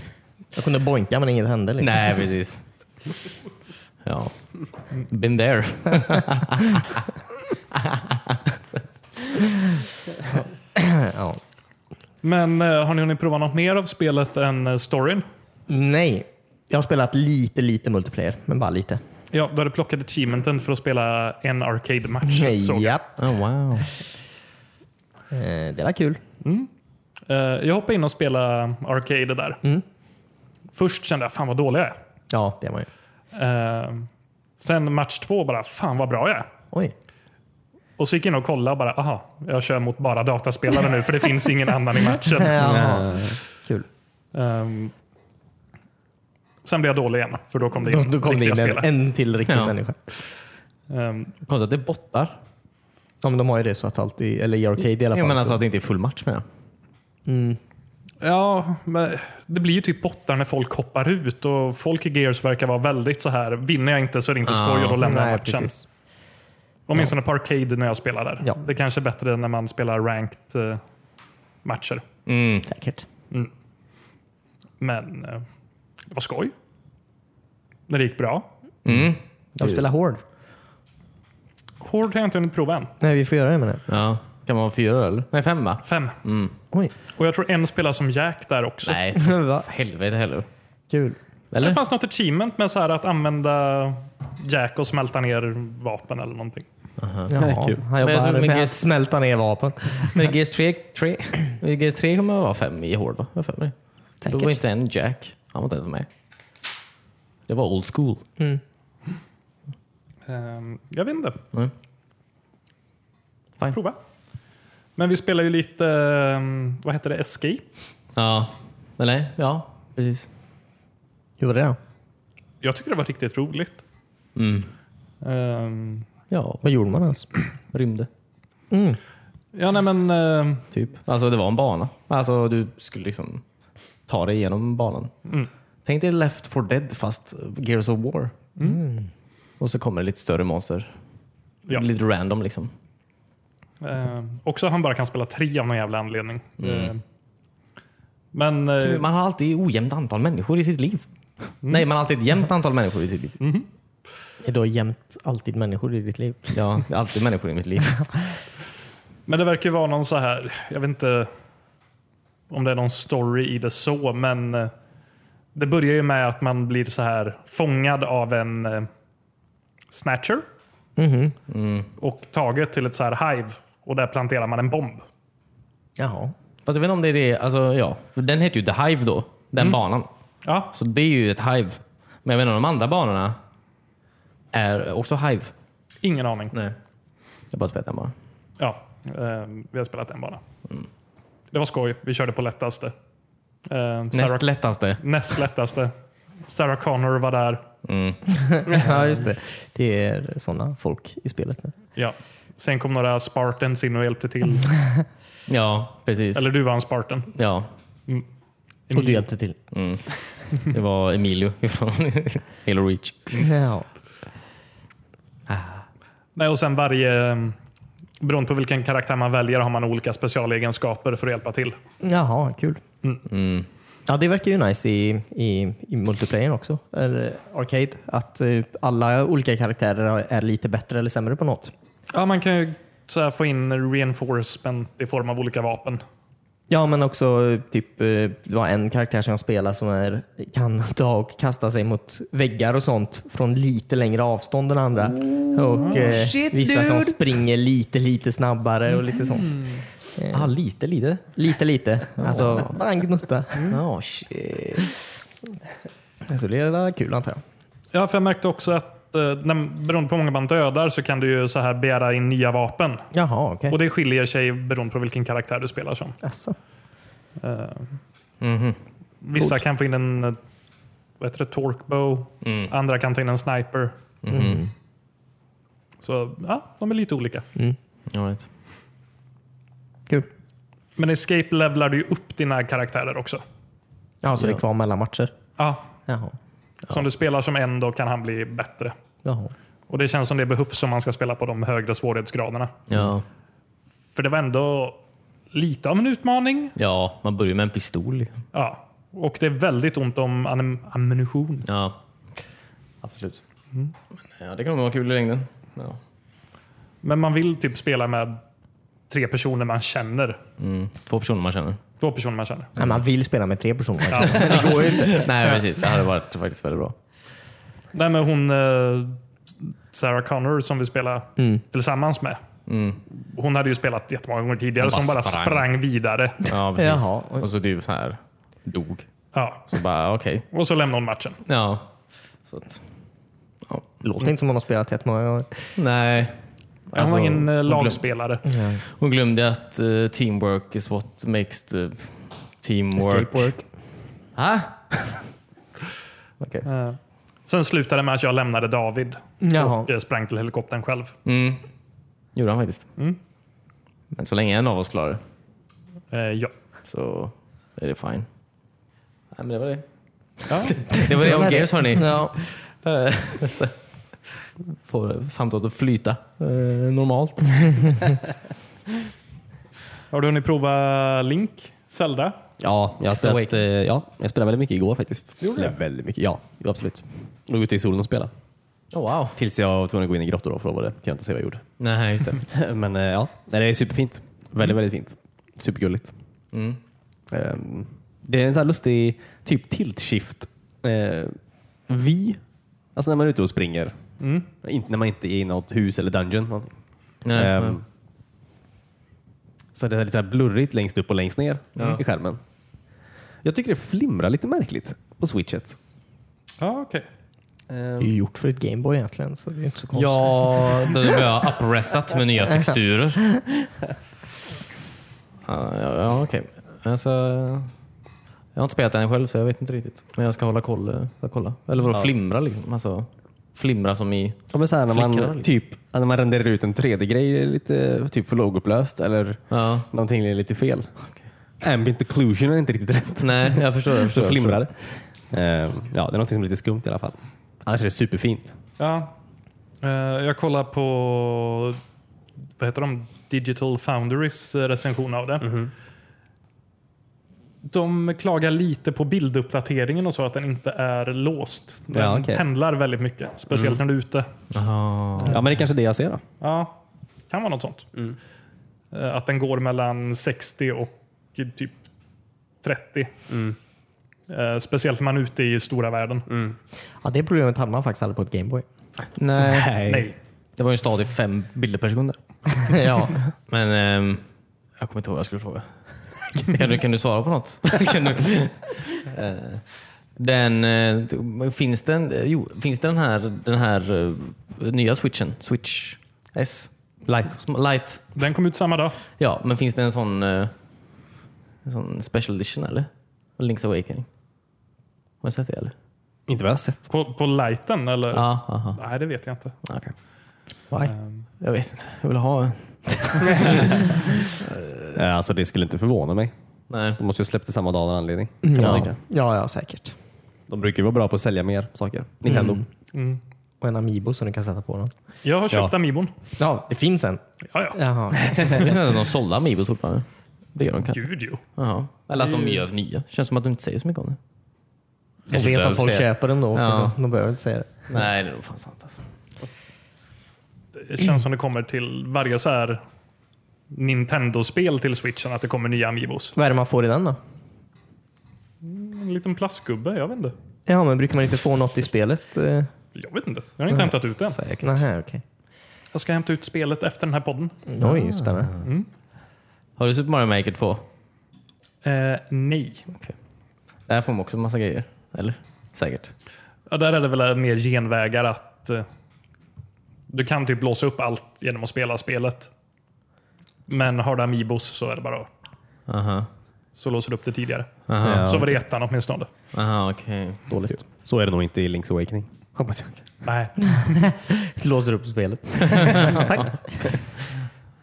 S3: De kunde boinka men inget hände. Liksom.
S1: Nej, precis. Ja. Been there.
S3: Ja.
S5: Men eh, har ni hunnit prova något mer av spelet än eh, storyn?
S3: Nej. Jag har spelat lite, lite multiplayer, men bara lite.
S5: Ja, då har du plockat achievementen för att spela en arcade-match. såg jag.
S3: Japp.
S1: Oh, wow.
S3: Eh, Det var kul.
S5: Eh, jag hoppade in och spelade arcade där.
S3: Mm.
S5: Först kände jag, fan vad dålig jag är.
S3: Ja, det var ju.
S5: Eh, sen match två bara, fan vad bra jag är.
S3: Oj.
S5: Och så gick jag in och kollade och bara, aha, jag kör mot bara dataspelare nu för det finns ingen annan i matchen.
S3: Jaha. Eh, Kul.
S5: Ehm, sen blev jag dålig igen, för då kom det
S3: Då,
S5: in
S3: då kom det in
S5: riktiga
S3: en,
S5: spelare.
S3: en till riktig
S1: Ja.
S3: människa.
S5: Ehm,
S1: Konstigt att det är bottar.
S3: Ja, men de har ju det så att alltid, eller i Arcade i alla fall.
S1: Jag menar
S3: så-
S1: alltså att det inte är full match med det.
S5: ja, men det blir ju typ bottar när folk hoppar ut och folk i Gears verkar vara väldigt så här, vinner jag inte så är det inte skoj och då lämnar jag
S3: Nej,
S5: matchen.
S3: precis.
S5: Åtminstone på Arcade när jag spelar där.
S3: Ja.
S5: Det är kanske är bättre när man spelar ranked eh, matcher.
S1: Mm.
S3: Säkert.
S5: Men eh, det var skoj. När det gick bra.
S1: Mm.
S3: De spelar hård.
S5: Hård har jag inte hunnit prova än.
S3: Nej, vi får göra det menar jag.
S1: Ja. Kan man vara fyra eller? Nej, fem va?
S5: Fem.
S3: Oj.
S5: Och jag tror en spelar som Jack där också.
S1: Nej,
S3: Va?
S1: helvete heller.
S3: Kul.
S5: Det
S1: Eller?
S5: fanns något achievement med så här att använda Jack och smälta ner vapen eller någonting.
S3: Jaha.
S2: kul.
S3: Han
S1: Men jag
S3: jobbar
S1: tror
S3: med
S1: mycket-
S3: att smälta ner vapen.
S1: Men GS3, 3, GS3 kommer att vara fem i hård va? Jag har för mig. Då var inte en Jack. Han var inte ens med. Det var old school.
S5: Ehm, Jag vet inte.
S1: Mm. Fine.
S5: Prova. Men vi spelar ju lite, ehm, vad heter det, Escape?
S1: Ja. Eller? Ja, precis.
S3: Gjorde det? då?
S5: Jag tycker det var riktigt roligt.
S1: Mm.
S5: Ehm,
S1: Ja,
S3: Vad gjorde man ens?
S1: rymde.
S5: ja, nej men ehm,
S1: Typ. Alltså det var en bana. Alltså du skulle liksom ta dig igenom banan.
S5: Mm.
S1: Tänk dig Left 4 Dead fast Gears of War. Mm. Och så kommer det lite större monster.
S5: Mm. Ja.
S1: Lite random liksom.
S5: ehm, också han bara kan spela tre av någon jävla anledning.
S1: Mm.
S5: Ehm, men eh, Mm.
S1: Man har alltid ojämnt antal människor i sitt liv. Nej, man har alltid ett jämnt antal människor i sitt liv.
S3: Är då jämt alltid människor i ditt liv?
S1: Ja, det är alltid människor i mitt liv.
S5: Men det verkar ju vara någon så här, jag vet inte om det är någon story i det så, men eh, det börjar ju med att man blir så här fångad av en eh, snatcher och taget till ett så här hive och där planterar man en bomb.
S3: Jaha.
S1: Fast jag vet inte om det är det, alltså ja. För den heter ju The Hive då, den
S5: Mm.
S1: banan.
S5: Ja,
S1: Så det är ju ett Hive. Men jag vet inte om de andra banorna är också Hive.
S5: ingen aning.
S1: Nej. Jag bara spelar den bara.
S5: Ja, eh, vi har spelat en bana. Det var skoj. Vi körde på lättaste. Eh, Sarah,
S1: Näst lättaste.
S5: näst lättaste. Sarah Connor var där.
S3: ja, just det. Det är sådana folk i spelet nu.
S5: Ja. Sen kom några Spartans in och hjälpte till.
S1: Ja, precis.
S5: Eller du var en Spartan.
S1: Ja,
S3: Och du hjälpte till.
S1: det var Emilio ifrån Halo Reach.
S3: Ja.
S5: Nej, och sen varje... mm, Beroende på vilken karaktär man väljer har man olika specialegenskaper för att hjälpa till.
S3: Jaha, kul. Mm. Ja, det verkar ju nice i, i, i multiplayern också, eller Arcade, att eh, alla olika karaktärer är lite bättre eller sämre på något.
S5: Ja, man kan ju så här få in reinforcement i form av olika vapen.
S3: Ja, men också eh, typ, eh, det var en karaktär som jag spelar som är, kan ta och kasta sig mot väggar och sånt från lite längre avstånd än andra. och eh, vissa som springer lite, lite snabbare och lite sånt.
S1: ah, lite, lite.
S3: Lite, lite. Mm. Ah, Alltså, bara en gnutta.
S1: Ja, shit.
S3: Så det är väl kul antar jag.
S5: Ja, för jag märkte också att eh, när, beroende på hur många man dödar så kan du ju så här begära in nya vapen.
S3: Jaha, okej.
S5: Och det skiljer sig beroende på vilken karaktär du spelar som.
S3: Alltså.
S5: Vissa kan få in en eh, vad heter det, torkbow, andra kan ta in en sniper.
S1: Mm.
S5: Så ja, de är lite olika.
S1: All right.
S3: Kul.
S5: Men escape levelar du ju upp dina karaktärer också.
S3: Ja, så det är kvar mellan matcher?
S5: Ja,
S3: Jaha.
S5: som du spelar som en då kan han bli bättre.
S3: Jaha.
S5: Och det känns som det behövs om man ska spela på de högre svårighetsgraderna.
S1: Ja.
S5: För det var ändå lite av en utmaning.
S1: ja, man börjar med en pistol. liksom.
S5: Ja. Och det är väldigt ont om anim- ammunition.
S1: Ja. Absolut.
S5: Mm.
S1: Men, ja, det kommer vara kul i längden. Ja.
S5: Men man vill typ spela med tre personer man känner.
S1: Mm. Två personer man känner.
S5: Två personer man känner.
S3: Nej, man vill spela med tre personer.
S1: Det går ju inte. Nej, precis. Det hade varit faktiskt väldigt bra.
S5: Nej, men hon eh, Sarah Connor som vi spelar
S1: Mm.
S5: tillsammans med. Hon hade ju spelat jättemånga gånger tidigare,
S1: Hon
S5: så hon
S1: bara
S5: bara sprang,
S1: sprang.
S5: vidare.
S1: Ja, precis.
S3: Jaha.
S1: Och så typ så här, dog.
S5: Ja.
S1: Så bara, okej.
S5: Och så lämnade hon matchen.
S1: Ja. Så att,
S3: Låter inte som man har spelat jättemånga gånger.
S1: nej.
S5: Hon var ingen eh,
S1: Alltså, hon glöm-
S5: lagspelare.
S1: Hon glömde att eh, teamwork is what makes the teamwork...
S3: Escapework.
S1: Ha?
S5: Eh, Sen slutade det med att jag lämnade David
S3: Jaha.
S5: och eh, sprang till helikoptern själv.
S1: Mm. Gjorde han faktiskt. Men så länge en av oss klarar det
S5: Eh, ja.
S1: så är det fine. Nej, men det var det.
S5: Ja.
S3: eh,
S1: Det var det om Gears hörni.
S3: Ja.
S1: Får samtalet att flyta eh, normalt.
S5: Har du hunnit prova Link? Zelda?
S2: Ja, jag, har
S3: Extra
S2: spelat, eh, ja, jag spelade väldigt mycket igår faktiskt.
S5: Gjorde du?
S2: Eller Väldigt mycket, ja. Jo, absolut. Låg ute i solen och spelade.
S3: Oh, wow.
S2: Tills jag var tvungen att gå in i grottor då, för då var det, kan jag inte säga vad jag gjorde.
S1: Nej, just det.
S2: Men eh, ja, Nej, det är superfint. Väldigt, väldigt fint. Supergulligt.
S3: Mm.
S2: Ehm, Det är en sån här lustig typ tilt-shift. eh, Vi, alltså när man är ute och springer. Inte när man inte är i något hus eller dungeon. någonting.
S1: Nej,
S2: Ehm, Så det är lite så här blurrigt längst upp och längst ner i skärmen. Jag tycker det flimrar lite märkligt på switchet.
S5: Ja, okej.
S3: Det är ju gjort för ett Gameboy egentligen, så det är ju inte så konstigt.
S1: Ja, då blir jag uppressat med nya texturer. Ja, ja, ja okej. Alltså, jag har inte spelat den själv så jag vet inte riktigt. Men jag ska hålla koll. eh, ska kolla. Eller vadå flimra liksom? Alltså, flimra som i...
S2: Ja, men så här, när,
S1: Flickor,
S2: man,
S1: liksom.
S2: typ, när man renderar ut en 3D-grej lite typ för lågupplöst eller
S1: Ja.
S2: någonting är lite fel. Ambient occlusion är inte riktigt rätt.
S1: Nej, jag förstår. Jag
S2: Så
S1: förstår
S2: flimrar det. Ehm, ja, det är någonting som är lite skumt i alla fall. Annars är det superfint.
S5: Ja. Eh, Jag kollar på vad heter de? Digital Foundries eh, recension av det. De klagar lite på bilduppdateringen och så, att den inte är låst. Den
S2: Ja, okej.
S5: pendlar väldigt mycket, speciellt när du är ute.
S1: Jaha.
S2: Ja, men det är kanske det jag ser då.
S5: Ja, kan vara något sånt. Eh, Att den går mellan 60 och typ 30. Eh, Speciellt när man är ute i stora världen.
S3: Ja, det problemet hade man faktiskt aldrig på ett Gameboy.
S1: Nej.
S5: Nej.
S1: Det var ju en stadig fem bilder per sekund. där. ja. Men ehm, jag kommer inte ihåg vad jag skulle fråga. kan, du, kan du svara på något? kan du, Eh, den, eh, t- finns, den, eh, jo, finns den här, den här eh, nya switchen? Switch S? Light. Light.
S5: Den kom ut samma dag.
S1: Ja, men finns det en sån, eh, en sån special edition eller? Link's Awakening? Har du sett det eller?
S2: Inte vad jag har sett.
S5: På, på lighten eller?
S1: Ja, aha.
S5: Nej, det vet jag inte.
S1: Okej. Why?
S2: Ehm.
S1: Jag vet inte. Jag vill ha en.
S2: Eh, Alltså, det skulle inte förvåna mig.
S1: Nej.
S2: De måste ju ha släppt det samma dag av en anledning. kan man
S3: Ja,
S2: tänka.
S3: ja, ja säkert.
S2: De brukar ju vara bra på att sälja mer saker. Nintendo.
S3: Och en Amiibo som du kan sätta på den.
S5: Jag har köpt
S2: Ja.
S5: Amibon.
S3: Ja, det finns en.
S5: Ja, ja.
S3: Jaha.
S1: Jag visste inte att de sålde Amibos fortfarande. Det gör de kanske.
S5: Gud jo.
S1: Jaha. Eller
S2: Mm.
S1: att de gör nya. Känns som att du inte säger så mycket om det.
S3: Jag
S1: Kanske
S3: vet
S1: behöver
S3: att folk
S1: säga.
S3: köper den då, för
S1: Ja.
S3: de, de behöver inte säga det.
S1: Nej, det är nog fan sant alltså.
S5: Det känns som det kommer till varje så här Nintendo-spel till switchen att det kommer nya Amibos.
S3: Vad är det man får i den då?
S5: En liten plastgubbe, jag vet inte.
S3: Ja, men brukar man inte få något i spelet? Eh,
S5: Jag vet inte. Jag har inte hämtat ut den.
S1: Säkert.
S3: Nähä, okej.
S5: Jag ska hämta ut spelet efter den här podden.
S3: Oj, spännande.
S1: Har du Super Mario Maker 2?
S5: Eh, nej.
S1: Där får man också en massa grejer. Eller? Säkert.
S5: Ja, där är det väl mer genvägar att eh, du kan typ blåsa upp allt genom att spela spelet. Men har du Amibos så är det bara
S1: Aha.
S5: så låser du upp det tidigare.
S1: Aha,
S5: Så var det i ettan åtminstone.
S1: Aha okej.
S2: Dåligt. Typ. Så är det nog inte i Link's Awakening. Hoppas jag.
S5: Nej.
S3: Låser upp spelet.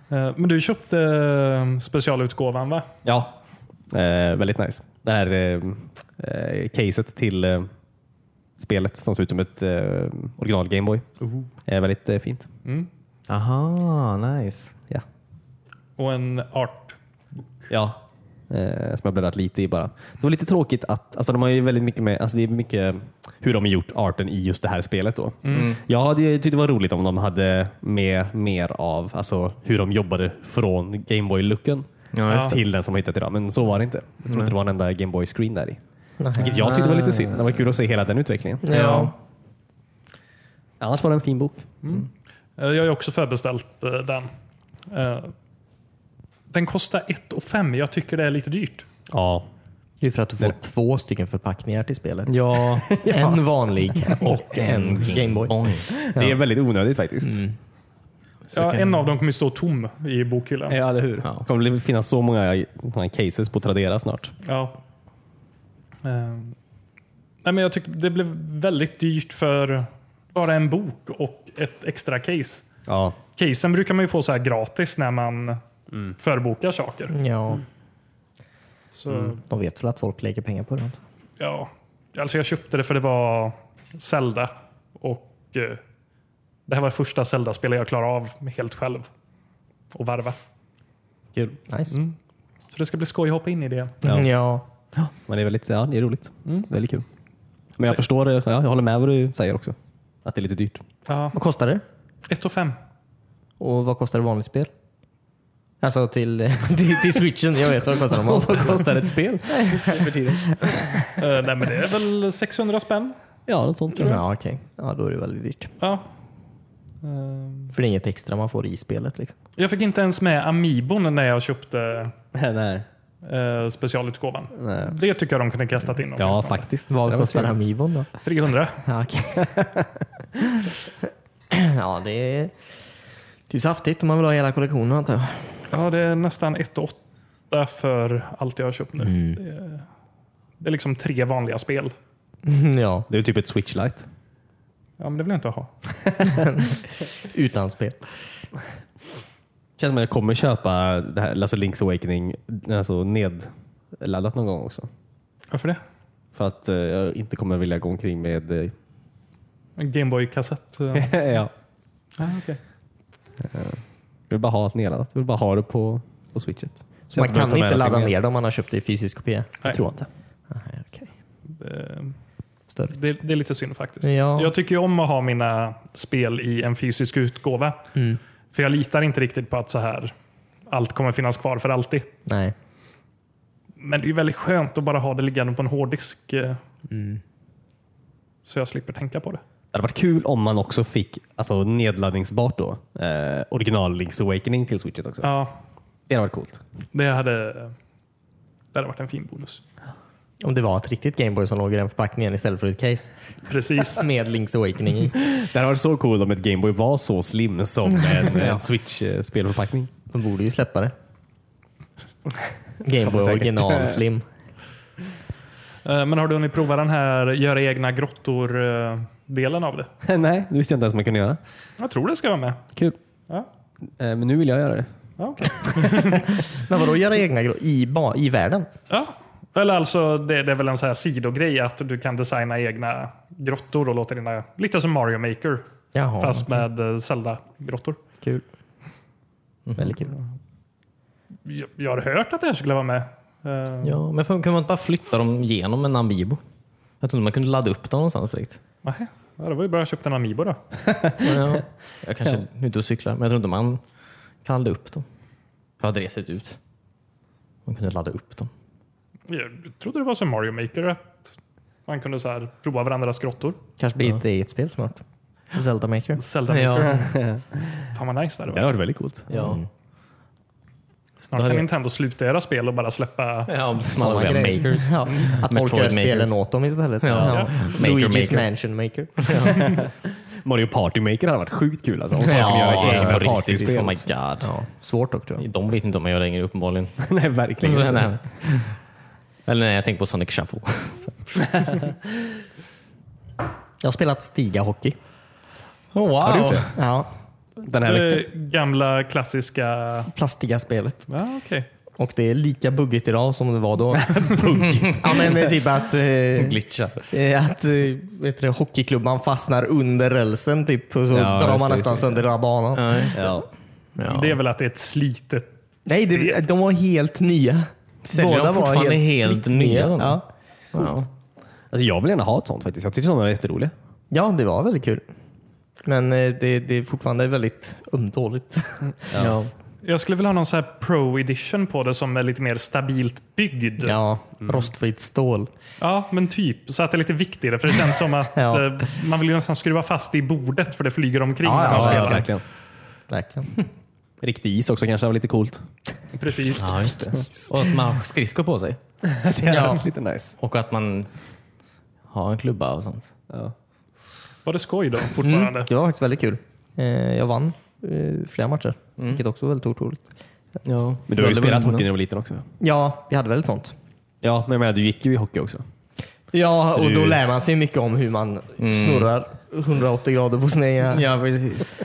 S5: Eh, Men du köpte eh, specialutgåvan va?
S2: Ja, eh, väldigt nice. Det här eh, eh, caset till eh, spelet som ser ut som ett eh, original Gameboy är väldigt eh, fint.
S1: Aha, nice.
S2: Ja,
S5: Och en art.
S2: ja. Eh, som jag bläddrat lite i bara. Det var lite tråkigt att, alltså de har ju väldigt mycket med, alltså det är mycket hur de har gjort arten i just det här spelet då.
S1: Mm.
S2: Jag hade ju tyckt det var roligt om de hade med mer av alltså, hur de jobbade från Gameboy-looken
S1: Ja, just
S2: till den som har hittat idag, men så var det inte. Jag tror inte det var en enda Gameboy-screen där i.
S3: Nähä.
S2: Vilket jag tyckte var lite synd. Det var kul att se hela den utvecklingen.
S3: Ja.
S2: Annars var det en fin bok.
S5: Eh, Jag har ju också förbeställt eh, den. Eh, Den kostar 1 5. Jag tycker det är lite dyrt.
S2: Ja.
S3: Det är för att du får två stycken förpackningar till spelet.
S1: Ja.
S3: En vanlig och en Gameboy.
S2: Det är väldigt onödigt faktiskt.
S1: Mm.
S5: Ja, en av dem kommer ju stå tom i bokhyllan.
S2: Ja, eller hur? Det kommer bli- finnas så många såna här cases på Tradera snart.
S5: Ja. Ehm. Nej, men jag tycker det blev väldigt dyrt för bara en bok och ett extra case.
S2: Ja.
S5: Casen brukar man ju få så här gratis när man förbokar saker.
S3: Ja,
S5: Så,
S3: de vet väl att folk lägger pengar på det.
S5: ja. Alltså jag köpte det för det var Zelda och eh, Det här var första Zelda-spelet jag klarade av helt själv och varva.
S2: Kul.
S3: Nice.
S5: Så det ska bli skoj att hoppa in i det igen.
S3: Mm. Ja.
S2: Men det är väldigt, ja, det är roligt. Väldigt kul. Mm. Men jag förstår, det. ja, jag håller med vad du säger också. Att det är lite dyrt.
S5: Ja,
S3: Vad kostar det?
S5: 1 och 5.
S3: Och vad kostar ett vanligt spel? Alltså till, till, till switchen. Jag vet vad det kostar. normalt.
S2: Vad kostar ett spel?
S5: Eh, nej men det är väl 600 spänn.
S2: Ja, något sånt tror jag.
S3: Ja, okej. Ja, då är det väldigt dyrt.
S5: Ja. Ehm,
S3: För det är inget extra man får i spelet. Liksom.
S5: Jag fick inte ens med Amiibon när jag köpte
S2: Nej.
S5: eh, specialutgåvan.
S2: Nej.
S5: Det tycker jag de kunde kastat in.
S2: Ja,
S5: åtminstone.
S2: faktiskt.
S3: Vad
S2: Det var
S3: kostar
S2: trevligt.
S3: Amibon då?
S5: 300.
S3: Ja, okej. ja det är... Det är ju saftigt om man vill ha hela kollektionen antar jag.
S5: Ja, det är nästan 1 och 8 för allt jag har köpt nu.
S2: Mm.
S5: Det, är, det är liksom tre vanliga spel.
S3: ja,
S2: Det är typ ett switch lite.
S5: Ja, men det vill jag inte ha.
S3: utan spel.
S2: Känns som att jag kommer köpa det här, alltså Link's Awakening alltså nedladdat någon gång också.
S5: Varför det?
S2: För att eh, jag inte kommer vilja gå omkring med... eh,
S5: En Gameboy-kassett? eh.
S2: ja.
S5: ah, okay.
S2: Jag vill bara ha allt nedladdat. Jag vill bara ha det på, på switchet.
S3: Så man
S2: jag behöver
S3: kan
S2: ta med
S3: inte ladda
S2: någonting
S3: ner dem om man har köpt det i fysisk kopia?
S5: Nej.
S2: tror jag inte.
S3: Nej, okej.
S5: det,
S3: Större.
S5: det, det är lite synd faktiskt.
S3: Ja.
S5: Jag tycker ju om att ha mina spel i en fysisk utgåva.
S2: Mm.
S5: För jag litar inte riktigt på att så här allt kommer finnas kvar för alltid.
S3: Nej.
S5: Men det är ju väldigt skönt att bara ha det liggande på en hårddisk. eh, Så jag slipper tänka på det.
S2: Det hade varit kul om man också fick alltså, nedladdningsbart då. Eh, original Link's Awakening till switchet också.
S5: Ja,
S2: Det hade varit coolt.
S5: det hade, det hade varit en fin bonus.
S3: Om det var ett riktigt Gameboy som låg i den förpackningen istället för ett case.
S5: Precis.
S3: Med Link's Awakening i.
S2: Det hade varit så coolt om ett Gameboy var så slim som en, en switch-spelförpackning.
S3: De borde ju släppa det. Gameboy
S2: säkert.
S3: original slim.
S5: Eh, Men har du hunnit prova den här göra egna grottor-delen av det?
S2: Nej, det visste jag inte ens man kunde göra.
S5: Jag tror det ska vara med.
S2: Kul.
S5: Ja.
S2: Eh, men nu vill jag göra det.
S5: Ja, okej.
S3: Men vadå göra egna gro- i, ba- i världen?
S5: ja. Eller alltså, det, det är väl en så här sidogrej att du kan designa egna grottor och låta dina, lite som Mario Maker,
S3: Jaha,
S5: fast med eh, Zelda-grottor.
S3: kul.
S1: Mhm.
S3: Väldigt kul.
S5: Jag, jag har hört att det här skulle vara med. Eh,
S1: Ja, men för, kan man inte bara flytta dem genom en Amiibo? Jag trodde man kunde ladda upp dem någonstans direkt.
S5: nähä. Ja, det var ju bra att jag köpte en Amiibo då.
S1: Men Ja, jag kanske är ute och cyklar, men jag tror inte man kan ladda upp dem. Hur hade det sett ut? Man kunde ladda upp dem.
S5: Jag trodde det var som Mario Maker, att man kunde så här, prova varandras grottor.
S3: Kanske blir ett eget spel snart. Zelda Maker.
S5: Zelda Maker.
S1: Mm.
S5: Fan vad nice det
S2: Det
S5: hade
S2: hade
S5: varit.
S2: varit väldigt coolt.
S1: Ja. Mm.
S5: Snart kan Nintendo sluta göra spel och bara släppa
S1: ja
S3: Såna
S1: man
S3: grejer.
S1: makers.
S3: Ja, att folk
S1: Metroid
S3: gör spelen
S1: Makers.
S3: åt dem istället.
S1: Ja.
S3: Ja.
S1: Maker
S3: Luigi's
S1: Maker.
S3: Mansion Maker.
S2: Mario Party Maker hade varit sjukt kul alltså. Om man kunde
S1: Ja,
S2: göra egna
S1: alltså, på riktigt.
S2: partyspel.
S1: Oh my god.
S3: Ja, svårt dock tror jag.
S1: De vet inte om man gör längre uppenbarligen.
S2: Nej, verkligen.
S1: Så, nej. Eller nej, jag tänker på Sonic Shuffle.
S3: Jag har spelat Stiga Hockey.
S1: Oh, wow.
S2: Har du gjort det?
S3: Ja,
S2: Den här veckan.
S5: eh, gamla klassiska...
S3: plastiga spelet.
S5: Ja, okej.
S3: Och det är lika buggigt idag som det var då. buggigt? Ja men det är typ att... eh,
S1: Glitchar.
S3: Eh, Att eh, vet du, hockeyklubban fastnar under rälsen typ, och så
S2: Ja,
S3: drar
S2: just
S3: man
S2: det,
S3: nästan
S2: just
S3: sönder hela banan.
S1: Ja, just det.
S2: Ja.
S1: Ja.
S5: Det är väl att det är ett slitet
S3: Nej, det, de var helt nya.
S1: Säljer de fortfarande helt nya, de?
S3: Ja.
S1: Ja.
S2: Alltså, jag vill gärna ha ett sånt faktiskt. Jag tycker sådana är jätteroliga.
S3: ja, det var väldigt kul. Men eh, det, det är fortfarande väldigt ömtåligt.
S2: Mm.
S3: Ja.
S5: Jag skulle vilja ha någon så här pro edition på det som är lite mer stabilt byggd. Ja,
S3: ja,
S2: Mm.
S3: rostfritt stål.
S5: men typ. Så att det är lite viktigare. För det känns som att
S3: Ja.
S5: eh, man vill ju nästan skruva fast i bordet för det flyger omkring.
S3: Ja,
S5: när
S3: ja,
S5: man spelar.
S2: verkligen.
S3: Verkligen.
S2: Riktig is också kanske var lite coolt.
S5: Precis.
S1: Ja, just det. Och att man har skridskor på sig.
S2: Det hade
S3: Ja.
S2: varit lite nice.
S1: Och att man har en klubba och sånt.
S2: Ja.
S5: Var det skoj då
S3: Mm,
S5: fortfarande?
S3: det var faktiskt väldigt kul. Eh, Jag vann eh, flera matcher,
S2: Mm.
S3: vilket också var väldigt otroligt.
S1: Ja.
S2: Men du har ju spelat hockey när du var liten också.
S3: Ja, vi hade väl ett sånt.
S2: Ja, men jag menar, du gick ju i hockey också.
S3: Ja, och då
S2: du- Mm.
S3: lär man sig mycket om hur man snurrar 180 grader på sina egna...
S1: Ja, precis.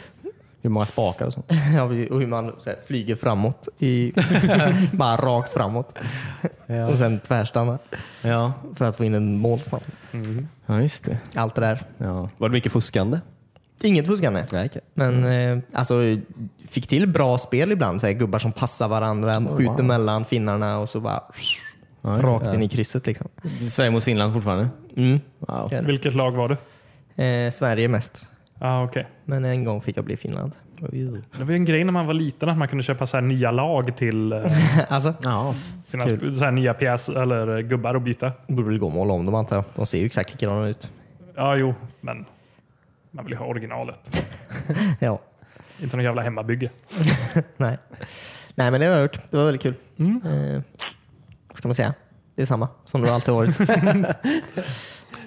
S1: Hur många spakar och sånt.
S3: Ja, precis. och hur man så här, flyger framåt. I, bara rakt framåt. Och sen tvärstannar
S1: Ja,
S3: för att få in en mål snabbt.
S1: ja just det.
S3: Allt det där.
S1: Ja.
S2: Var det mycket fuskande?
S3: Inget fuskande.
S2: Nej, okej.
S3: Men eh, alltså, fick till bra spel ibland. Så här, gubbar som passar varandra, skjuter mellan finnarna och så bara rakt in i krysset. Liksom.
S1: Sverige mot Finland fortfarande?
S3: Mm.
S1: Wow.
S3: Okej.
S5: Vilket lag var det?
S3: Eh, Sverige mest.
S5: Ah, okay.
S3: Men en gång fick jag bli Finland.
S5: Det var ju en grej när man var liten att man kunde köpa så här nya lag till eh,
S3: alltså,
S1: Ja.
S5: sina sp- så här nya pjäser eller eh, gubbar att byta.
S3: borde väl gå och måla om dem antar jag. De ser ju exakt likadana ut.
S5: Ja, jo, men man vill ju ha originalet.
S3: ja.
S5: Inte någon jävla hemmabygge.
S3: Nej. Nej, men det har jag gjort. Det var väldigt kul. Eh, vad ska man säga? Det är samma som det alltid har varit.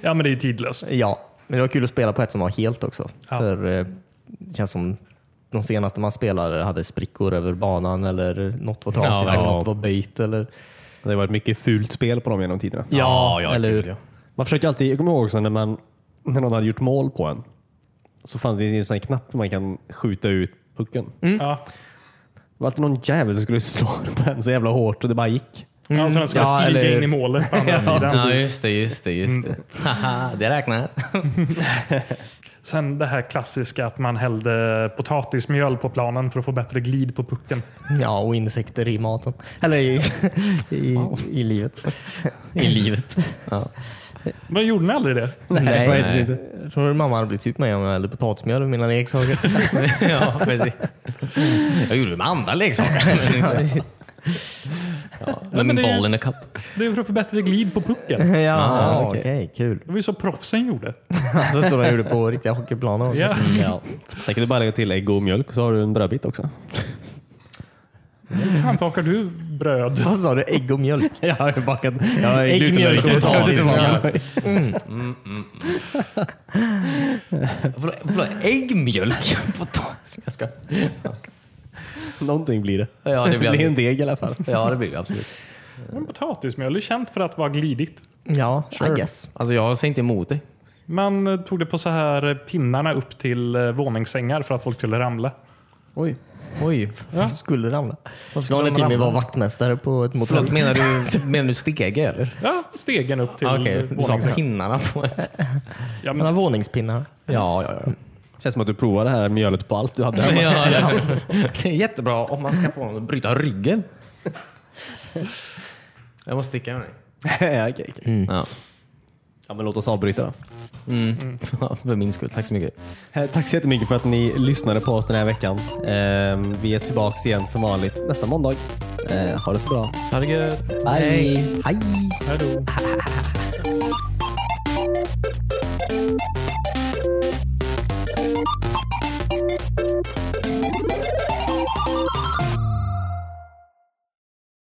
S5: Ja, men det är ju tidlöst.
S3: Ja, men det var kul att spela på ett som var helt också.
S5: Ja.
S3: För eh, det känns som de senaste man spelade hade sprickor över banan eller något var trasigt
S2: Ja,
S3: eller
S2: ja.
S3: något var böjt. Eller...
S2: Det har varit mycket fult spel på dem genom tiderna.
S3: eller hur?
S2: Man försökte alltid, jag kommer ihåg också när, man, när någon hade gjort mål på en. Så fanns det en sån här knapp där man kan skjuta ut pucken.
S5: Ja.
S2: Det var alltid någon jävel som skulle slå den så jävla hårt och det bara gick.
S5: Ja, så den skulle
S3: Ja,
S5: flyga
S3: eller-
S5: in i målet på andra sidan.
S1: Ja, just det, just det. Just det. Haha, det räknas.
S5: Sen det här klassiska att man hällde potatismjöl på planen för att få bättre glid på pucken.
S3: Ja, och insekter i maten. Eller i, i, i livet. I livet. Ja.
S5: Men gjorde ni aldrig det?
S3: Nej,
S2: det var inte
S3: Jag tror mamma hade blivit ut mig om jag hällde potatismjöl över mina leksaker.
S1: ja, precis. Jag gjorde det med andra leksaker. men inte- Ja,
S5: men
S1: med min
S5: det är-
S1: boll in a cup.
S5: Det är för att få bättre glid på pucken.
S3: ja,
S5: Det
S3: ja okej. Kul.
S5: var ju så proffsen gjorde.
S3: Det var så de gjorde på riktiga hockeyplaner. också.
S5: Ja.
S2: Ja. Sen kan du bara lägga till ägg och mjölk så har du en brödbit också.
S5: Hur fan bakar du bröd?
S3: Vad sa du? Ägg och mjölk?
S2: Jag har ju bakat jag har
S3: Ägg, mjölk och potatismjöl.
S1: Vadå- vadå, Äggmjölk? Potatis? Jag ska...
S2: Någonting blir det.
S1: Ja, det blir
S2: det blir en
S1: alltid-
S2: deg i alla fall.
S1: Ja, det blir det absolut.
S5: Men potatismjöl är känt för att vara glidigt.
S3: Ja, I guess.
S1: Alltså, jag säger inte emot dig.
S5: Man eh, tog det på så här eh, pinnarna upp till eh, våningssängar för att folk skulle ramla.
S1: Oj. Oj.
S3: Skulle ramla.
S1: skulle
S3: Någon i
S1: de
S3: timmen
S1: ramla?
S3: var vaktmästare på ett motell.
S1: Förlåt, menar du, menar du stege eller?
S5: Ja, stegen upp till
S1: Ah,
S5: ah,
S1: Okej, du sa
S5: våningssängar.
S1: pinnarna på ett...
S5: Ja,
S3: Han har
S5: men,
S3: våningspinnar.
S2: Ja, ja, ja. Känns som att du provar det här mjölet på allt du hade.
S1: Ja, ja. Det är jättebra om man ska få någon att bryta ryggen. Jag måste sticka med dig.
S2: ja, okej, okej.
S1: Mm. Ja.
S2: ja, men låt oss avbryta då.
S1: För min skull, tack så mycket.
S2: Eh, Tack så jättemycket för att ni lyssnade på oss den här veckan. Eh, Vi är tillbaka igen som vanligt nästa måndag. Eh, Ha det så bra.
S1: Ha det gött.
S2: Hej!
S3: Hej!
S5: hej då.